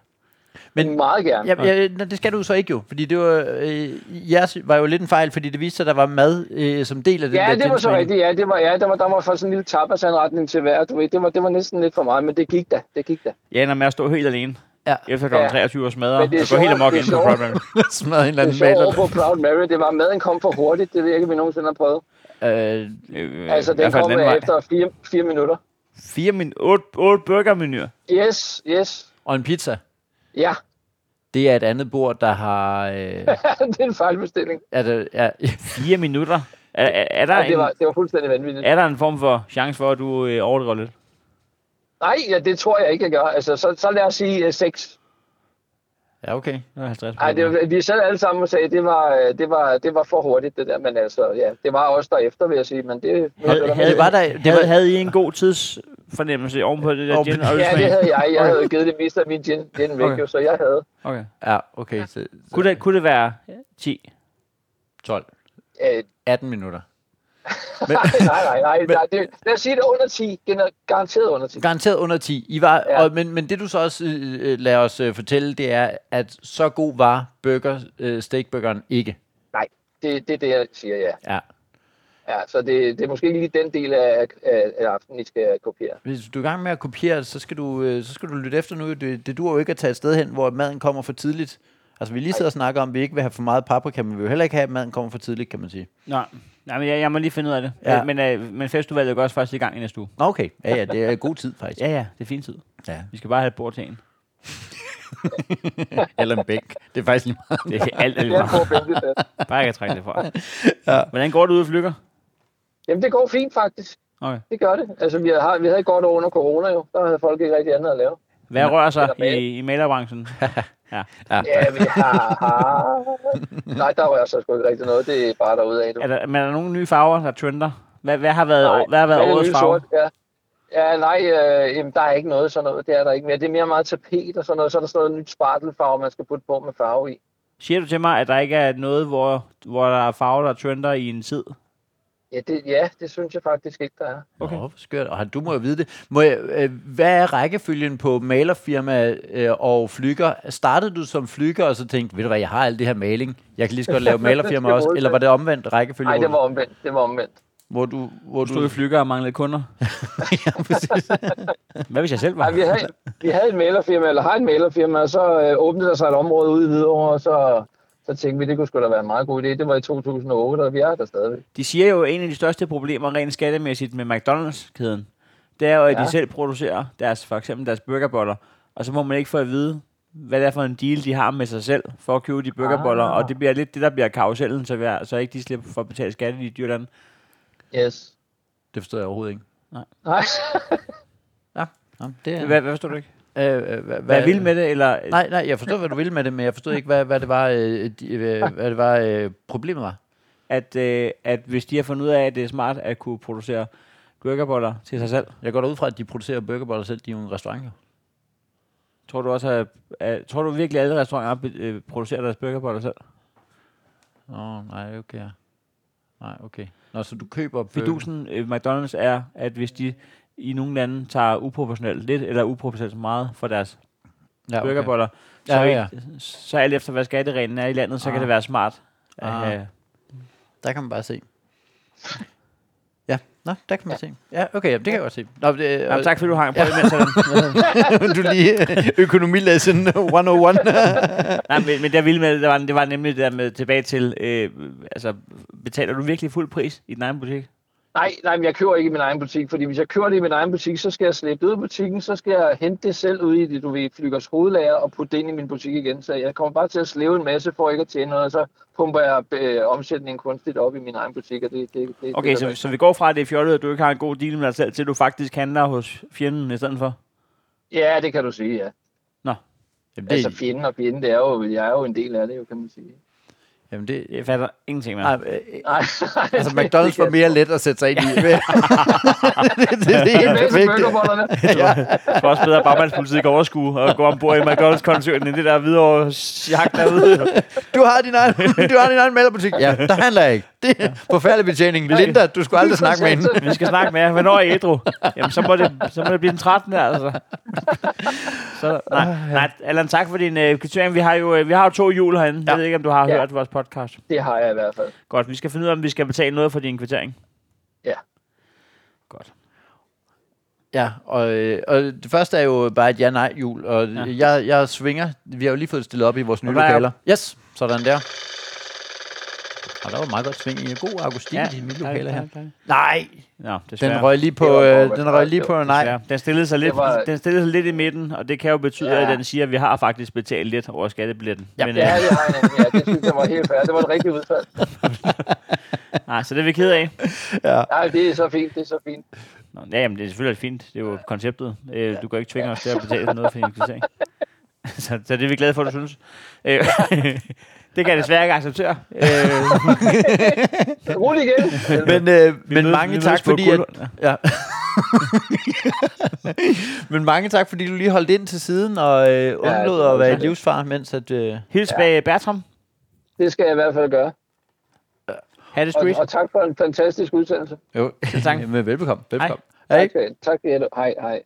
D: Men meget gerne.
A: Ja, ja, nej, det skal du så ikke jo, fordi det var, øh, jeres var jo lidt en fejl, fordi det viste sig, at der var mad øh, som del af den
D: Ja,
A: der
D: det var så
A: gentagning.
D: rigtigt. Ja, det var, ja, der var, der var faktisk en lille tapasanretning til hver. Du ved, det var, det var næsten lidt for meget, men det gik da. Det gik da.
B: Jeg ender med at stå helt alene
A: Ja.
B: efter kl. Ja.
D: Ja.
B: 23 og smadre.
D: Men det er
B: Jeg går helt amok
D: sjovt, det er
B: ind på
D: sjovt.
B: programmet.
A: Smadret en eller
D: Det
A: anden
D: sjove over
A: maler.
D: på Proud Mary, det var, at maden kom for hurtigt. Det ved jeg ikke, om vi nogensinde har prøvet.
A: Øh,
B: Øh,
D: Altså,
B: i hvert
D: den
B: fald
D: kom
B: den anden vej.
D: efter fire, fire minutter.
B: Fire min... Otte, otte burgermenuer.
D: Yes, yes.
A: og en pizza.
D: Ja,
A: Det er et andet bord, der har... Øh,
D: det er en fejlbestilling.
A: er det, er,
B: Fire minutter. Er, er, er, der
D: Ja, det,
B: en,
D: var, det var fuldstændig vanvittigt.
B: er der en form for chance for, at du øh, overdriver lidt?
D: Nej, ja, det tror jeg ikke, jeg gør. Altså, så, så lad os sige uh, seks.
A: ja, okay.
B: Det var 50
D: Ej, det,
B: minutter.
D: var- vi sad alle sammen og sagde, at det var, øh, det, var, det var for hurtigt, det der. Men altså, ja, det var også derefter, vil jeg sige. Men det,
B: Havde, havde,
A: Det var der- det
B: det havde,
A: var-
B: havde I en god tidsfornemmelse ovenpå det der
A: Oven-
B: gin og
D: ja,
B: ølsmag?
D: det havde jeg. Jeg havde givet det meste af min gin, gin væk,
B: Okay.
D: jo, så jeg havde.
B: Okay.
A: Ja, okay. Så, så
B: Kunne det, kunne det være 10?
A: 12.
D: Øh,
A: 18 minutter.
D: nej, nej, nej. nej det, lad os sige det er under 10. Den er garanteret under 10.
A: Garanteret under 10. I var, ja.
D: Ja.
A: og, men, men det du så også øh, øh, lader os øh, fortælle, det er, at så god var burger, øh, steakburgeren ikke.
D: Nej, det, det er det, jeg siger, ja.
A: Ja.
D: ja så det, det er måske ikke lige den del af, af, af aftenen, I skal kopiere.
A: Hvis du er i gang med at kopiere, så skal du, øh, så skal du lytte efter nu. Det, det duer jo ikke at tage et sted hen, hvor maden kommer for tidligt. Altså, vi lige sidder og snakker om, at vi ikke vil have for meget paprika, men vi vil jo heller ikke have, at maden kommer for tidligt, kan man sige.
B: Nej, Nej men jeg, jeg må lige finde ud af det.
A: Ja.
B: Ja. Men, øh, men festivalet går også først i gang i næste uge.
A: Nå, Okay, ja, ja, det er god tid faktisk.
B: Ja, ja, det er fin tid.
A: Ja.
B: Vi skal bare have et bord til en.
A: Eller en bænk. Det er faktisk lige meget.
B: Det er alt, alt
D: Det er
B: meget.
D: på bænkeplads.
B: Bare jeg kan trække det fra. ja. Hvordan går det ude i flykker?
D: Jamen, det går fint, faktisk.
B: Okay.
D: Det gør det. Altså, vi havde, vi havde et godt år under corona jo. Der havde folk ikke rigtig andet at lave.
B: Hvad rører sig
D: eller
B: i, i malerbranchen? ja.
D: Ja, vi har... har- Nej, der var jeg så sgu ikke rigtig noget. Det er bare derude af.
B: Er der, men er der nogle nye farver, der trender? Hvad, hvad har været, hvad har været årets farve?
D: Ja. ja, nej, øh, jamen, der er ikke noget sådan noget. Det er der ikke mere. Det er mere meget tapet og sådan noget. Så er der sådan noget nyt spartelfarve, man skal putte på med farve i.
B: Siger du til mig, at der ikke er noget, hvor, hvor der er farver, der trender i en tid?
D: Ja det, ja, det synes jeg faktisk ikke, der er.
A: Okay. Nå, hvor skørt. Og du må jo vide det. Må jeg, øh, hvad er rækkefølgen på malerfirma øh, og flyger? Startede du som flyger og så tænkte, ved du hvad, jeg har alt det her maling. Jeg kan lige så godt lave malerfirma
D: Det
A: også.
D: skal
A: Eller var det omvendt rækkefølge?
D: Nej, det var
A: hvor,
D: omvendt. Det var omvendt.
A: hvor du, hvor
B: Du stod i
A: du,
B: flykker og manglede kunder.
A: ja, præcis.
B: Hvad hvis jeg selv var?
D: Nej, vi havde, vi havde et malerfirma, eller har et malerfirma, og så øh, åbnede der sig et område ude i Hvidovre, og så, så tænkte vi, det kunne sgu da være en meget god idé. Det var i 2008, og vi er der stadigvæk.
B: De siger jo, at en af de største problemer rent skattemæssigt med McDonald's-kæden, det er jo, at ja.
D: Ja.
B: de selv producerer deres, for eksempel deres burgerboller, og så må man ikke få at vide, hvad det er for en deal, de har med sig selv for at købe de burgerboller, ah. og det bliver lidt det, der bliver karusellen, så, vi er, så ikke de slipper for at betale skat i de dyre lande.
D: Yes.
A: Det forstod jeg overhovedet ikke.
D: Nej,
A: Ja, ja det er...
B: Hvad, hvad forstår du ikke?
A: Øh, øh, hvad,
B: Hvad er vild med det, eller Nej.
A: Nej, nej, jeg forstod, hvad du ville med det, men jeg forstod ikke, hvad, hvad det var, øh, de, øh, hvad det var øh, problemet var.
B: at, øh, at hvis de har fundet ud af, at det er smart at kunne producere burgerboller til sig selv,
A: Jeg går da ud fra, at de producerer burgerboller selv, de er jo en restaurant. jo.
B: tror du også, at, at tror du virkelig, at alle restauranter øh, producerer deres burgerboller selv?
A: Nå, nej, okay. ja. Nej, okay. Nå, så du køber burger.
B: Fidusen øh, McDonald's er, at hvis de i nogle lande tager uproportionelt lidt, eller uproportionelt meget for deres
A: ja,
B: okay. burgerboller, så,
A: Ja,
B: ja,
A: ja.
B: ja. så alt efter, hvad skattereglen er i landet, så
A: Ah.
B: kan det være smart. At,
A: Ah.
B: have-
A: Der kan man bare se. Ja, Nå, der kan man se. Ja, okay, jamen, det kan jeg godt se. Nå, det,
B: Jamen, tak fordi du hang på det, mens jeg
A: du lige øh, økonomilæsen 101.
B: Nej, men, men der ville med, det var, det var nemlig det der med tilbage til, øh, altså, betaler du virkelig fuld pris i din egen butik?
D: Nej, nej, men jeg køber ikke i min egen butik, fordi hvis jeg kører det i min egen butik, så skal jeg slæbe det ud af butikken, så skal jeg hente det selv ud i det, du ved, flygers hovedlager og putte det ind i min butik igen. Så jeg kommer bare til at slæve en masse for ikke at tjene noget, og så pumper jeg øh, omsætningen kunstigt op i min egen butik, og det, det, det
B: Okay,
D: det,
B: så, så vi går fra, at det er fjollet, at du ikke har en god deal med dig selv, til at du faktisk handler hos fjenden i stedet for?
D: Ja, det kan du sige, ja.
A: Jamen
D: Altså
A: det,
D: fjenden og fjenden, det er jo, jeg er jo en del af det, jo, kan man sige.
A: jamen det,
B: Jeg fatter ingenting med.
A: nej, øh,
D: Nej,
A: altså McDonald's var mere let at sætte sig ind i. det, det, det, er det,
D: Det er bedst
A: perfekte.
D: burgerbollerne.
B: Jeg tror også bedre, at bagmandspolitiet kan overskue og gå ombord i McDonald's-koncernen, end det der videre jagt derude.
A: Du har din egen, du har din egen malerbutik. Ja, der handler jeg ikke. Det er forfærdelig betjening. Linda, du skulle aldrig
D: Altså,
A: snakke med hende.
B: Vi skal snakke med jer. Hvornår er I ædru? Jamen, så må det, så må det blive den 13. altså. Så, nej, nej, Allan, tak for din øh, kvittering. Vi har jo øh, vi har jo to jul herinde. Ja. Jeg ved ikke, om du har ja.
D: Ja.
B: hørt vores podcast.
D: Det har jeg i hvert fald.
B: Godt, vi skal finde ud af, om vi skal betale noget for din kvittering.
D: Ja.
B: Godt.
A: Ja, og, øh, og det første er jo bare et ja-nej-hjul, og ja. jeg, jeg svinger. Vi har jo lige fået stillet op i vores nye
B: Og der er-
A: lokaler. Yes, sådan der. Og der var meget godt sving i. God akustik ja, i de nye lokaler her. Nej,
B: Nå, desværre.
A: den røg lige
D: Det
A: på,
D: var
A: øh,
D: forberedt.
A: den røg lige på nej.
B: Ja, den stillede, sig lidt,
D: Det var-
B: den stillede sig lidt i midten, og det kan jo betyde, ja.
D: Ja.
B: at den siger, at vi har faktisk betalt lidt over skattebilletten.
A: Ja.
B: Men, øh,
D: Ja, det har jeg nemlig. Ja, det synes jeg var helt fair. Det var et rigtigt udfald.
B: nej, så det er vi ked af.
D: Nej, det er så fint, det er så fint.
B: Nå, ja, jamen, det er selvfølgelig fint. Det er jo konceptet. Øh, du kan jo ikke tvinge os til at betale noget for din kvittering. så, så det er vi glade for, du synes. Øh, det kan jeg desværre ikke acceptere. Øh,
D: Rul igen.
A: Men, øh, men
B: vi mødes- vi
A: mange
B: mødes
A: tak,
B: på
A: fordi... At,
B: Guldhund.
A: ja. men mange tak, fordi du lige holdt ind til siden og øh, undlod
D: var
A: at være i
D: lidt-
A: livsfar, mens at... Øh,
B: Hils bag Bertram.
D: Det skal jeg i hvert fald gøre.
B: Hatte
D: Og,
B: Street.
D: og tak for en fantastisk udsendelse.
A: jo,
B: tak.
A: men velbekomme. velbekomme. Hej.
D: Tak, skal- tak Jette. Hej, hej.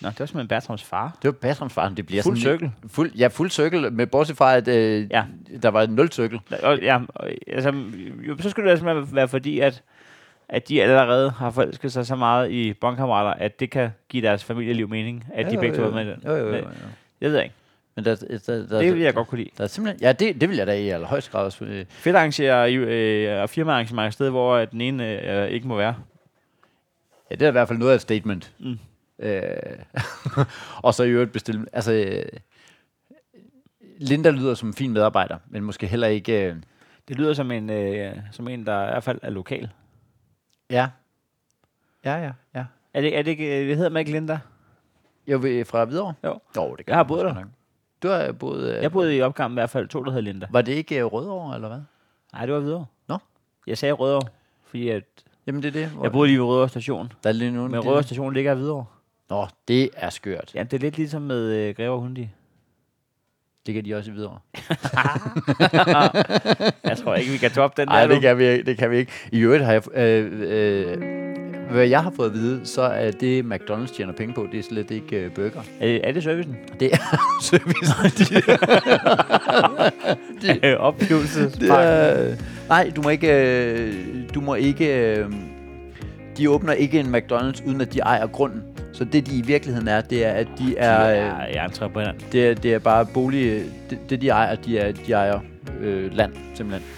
B: Nå, det var simpelthen Bertrams far.
A: Det var Bertrams far, det bliver
B: Fuld
A: sådan...
B: cirkel.
A: Fuld, ja, fuld cirkel, med bortset fra, at øh,
B: Ja.
A: ja. der var en nul-cirkel.
B: Og, ja, og, altså, jo, så skulle det altså være- være fordi, at, at de allerede har forelsket sig så meget i bondkammerater, at det kan give deres familieliv mening, at de begge to er med i den.
A: Jo, jo, jo.
B: Men
A: jo.
B: Jeg ved ikke.
A: Men der, der, der, der,
B: Det vil
A: der,
B: jeg godt kunne lide.
A: er simpelthen... Ja, det, det vil jeg da i allerhøjeste grad også... Øh,
B: Fedt arrangerer øh, og firma arrangerer et sted, hvor øh, den ene øh, ikke må være.
A: Ja, det er i hvert fald noget af et statement.
B: Mm.
A: Mm. Øh, og så i øvrigt bestille... Altså, øh, Linda lyder som en fin medarbejder, men måske heller ikke... Øh,
B: Det lyder som en, øh, som en der i hvert fald er lokal.
A: ja. Ja, ja, ja.
B: Er det, er det ikke, øh, det hedder man ikke Linda?
A: Jo, ved- fra Hvidovre?
B: Jo.
A: Jo, det kan
B: Jeg har
A: man
B: boet
A: måske
B: der.
A: nok. Du har boet... Øh,
B: Jeg boede i opgangen i hvert fald to, der hed Linda.
A: Var det ikke øh, Rødovre, eller hvad?
B: Nej, det var videre.
A: Nå.
B: Jeg sagde Rødovre, fordi at
A: Jamen, det er det. Hvor,
B: jeg boede lige ved Rødovre station.
A: der er lige nogen,
B: Men
A: det-
B: Rødovre station ligger i Hvidovre.
A: Nå, det er skørt.
B: Ja, det er lidt ligesom med øh, Greve og Hundi.
A: Det kan de også i Hvidovre.
B: Jeg tror ikke, vi kan toppe den
A: Nej,
B: der.
A: det kan, vi, ikke- det kan vi ikke. I øvrigt har jeg... Øh, øh, hvad jeg har fået at vide, så er det, McDonald's tjener penge på, det er slet ikke øh, burger.
B: Er, det- er det servicen?
A: Det er service.
B: Øh, Oplevelse.
A: det er, nej, du må ikke... Øh, du må ikke øh, de åbner ikke en McDonald's, uden at de ejer grunden. Så det, de i virkeligheden er, det er, at de er... øh,
B: Ja, jeg er entreprenør.
A: Det er, det er bare bolig... Det, det de ejer, de, er, de ejer øh, land, simpelthen.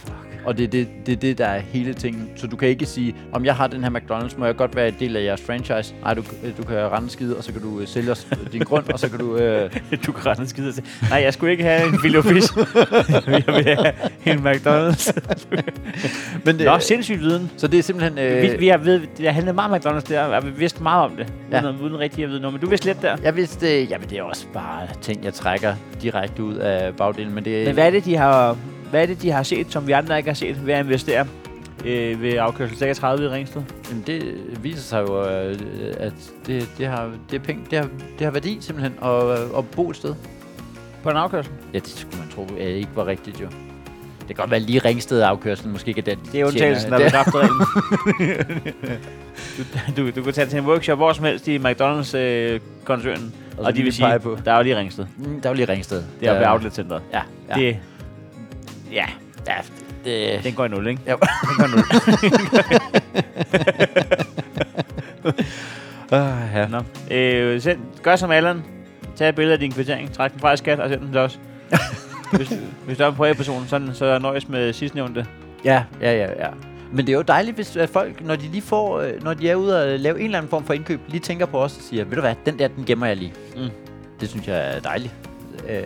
A: Og det er det, det, er det, der er hele tingen. Så du kan ikke sige, om jeg har den her McDonald's, må jeg godt være en del af jeres franchise? Nej, du, øh, du kan rende skide, og så kan du øh, sælge os din grund, og så kan du... Øh,
B: Du kan rende skide til. Nej, jeg skulle ikke have en filet Jeg vil have en McDonald's.
A: men øh, det,
B: Nå, sindssygt viden.
A: så det er simpelthen... Øh,
B: Vi, vi har ved, det har handlet meget om McDonald's der, og vi vidste meget om det, ja.
A: Ja.
B: uden, uden rigtig at vide noget. Men du vidste lidt der.
A: Jeg vidste, øh, jamen det er også bare ting, jeg trækker direkte ud af bagdelen, men det
B: Men hvad er det, de har, hvad er det, de har set, som vi andre ikke har set ved at investere øh, ved afkørsel 36 i Ringsted?
A: Jamen, det viser sig jo, øh, at det, det, har, det, er penge, det, har, det har værdi simpelthen at, at bo et sted.
B: På en afkørsel?
A: Ja, det skulle man tro øh, ikke var rigtigt, jo. Det kan godt være lige ringsted afkørslen, måske ikke den.
B: Det er undtagelsen, der
A: det,
B: bekræfter reglen. du, du, du kan tage til en workshop hvor som helst i McDonald's-koncernen, øh, og,
A: så
B: og de
A: lige
B: vil sige,
A: pege på.
B: der er jo lige Ringsted.
A: Mm, der er jo lige ringsted. Øh,
B: Det er oppe ved outlet-centret.
A: Ja, ja.
B: Ja. Det, ja,
A: ja det,
B: den går i nul, ikke?
A: Jo.
B: Den går i nul.
A: Ah, ja.
B: Nå. Øh, send, gør som Allan. Tag et billede af din kvittering, træk den fra i skat og send den til os. hvis, hvis du er en privatperson, så, så nøjes med sidstnævnte.
A: Ja, ja, ja, ja. Men det er jo dejligt, hvis at folk, når de lige får, øh, når de er ude og lave en eller anden form for indkøb, lige tænker på os og siger, ved du hvad, den der, den gemmer jeg lige.
B: Mm.
A: Det synes jeg er dejligt. Øh,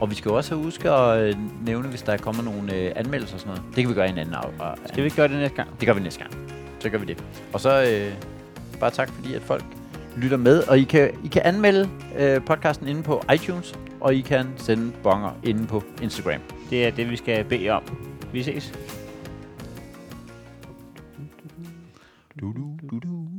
A: og vi skal jo også huske at øh, nævne, hvis der er kommet nogle øh, anmeldelser og sådan noget. Det kan vi gøre i en anden af. og-
B: Skal vi ikke gøre det næste gang?
A: Det gør vi næste gang. Så gør vi det. Og så øh, bare tak, fordi at folk lytter med. Og I kan, I kan anmelde øh, podcasten inde på iTunes, og I kan sende bonger inde på Instagram.
B: Det er det, vi skal bede om. Vi ses.
A: Du, du, du, du.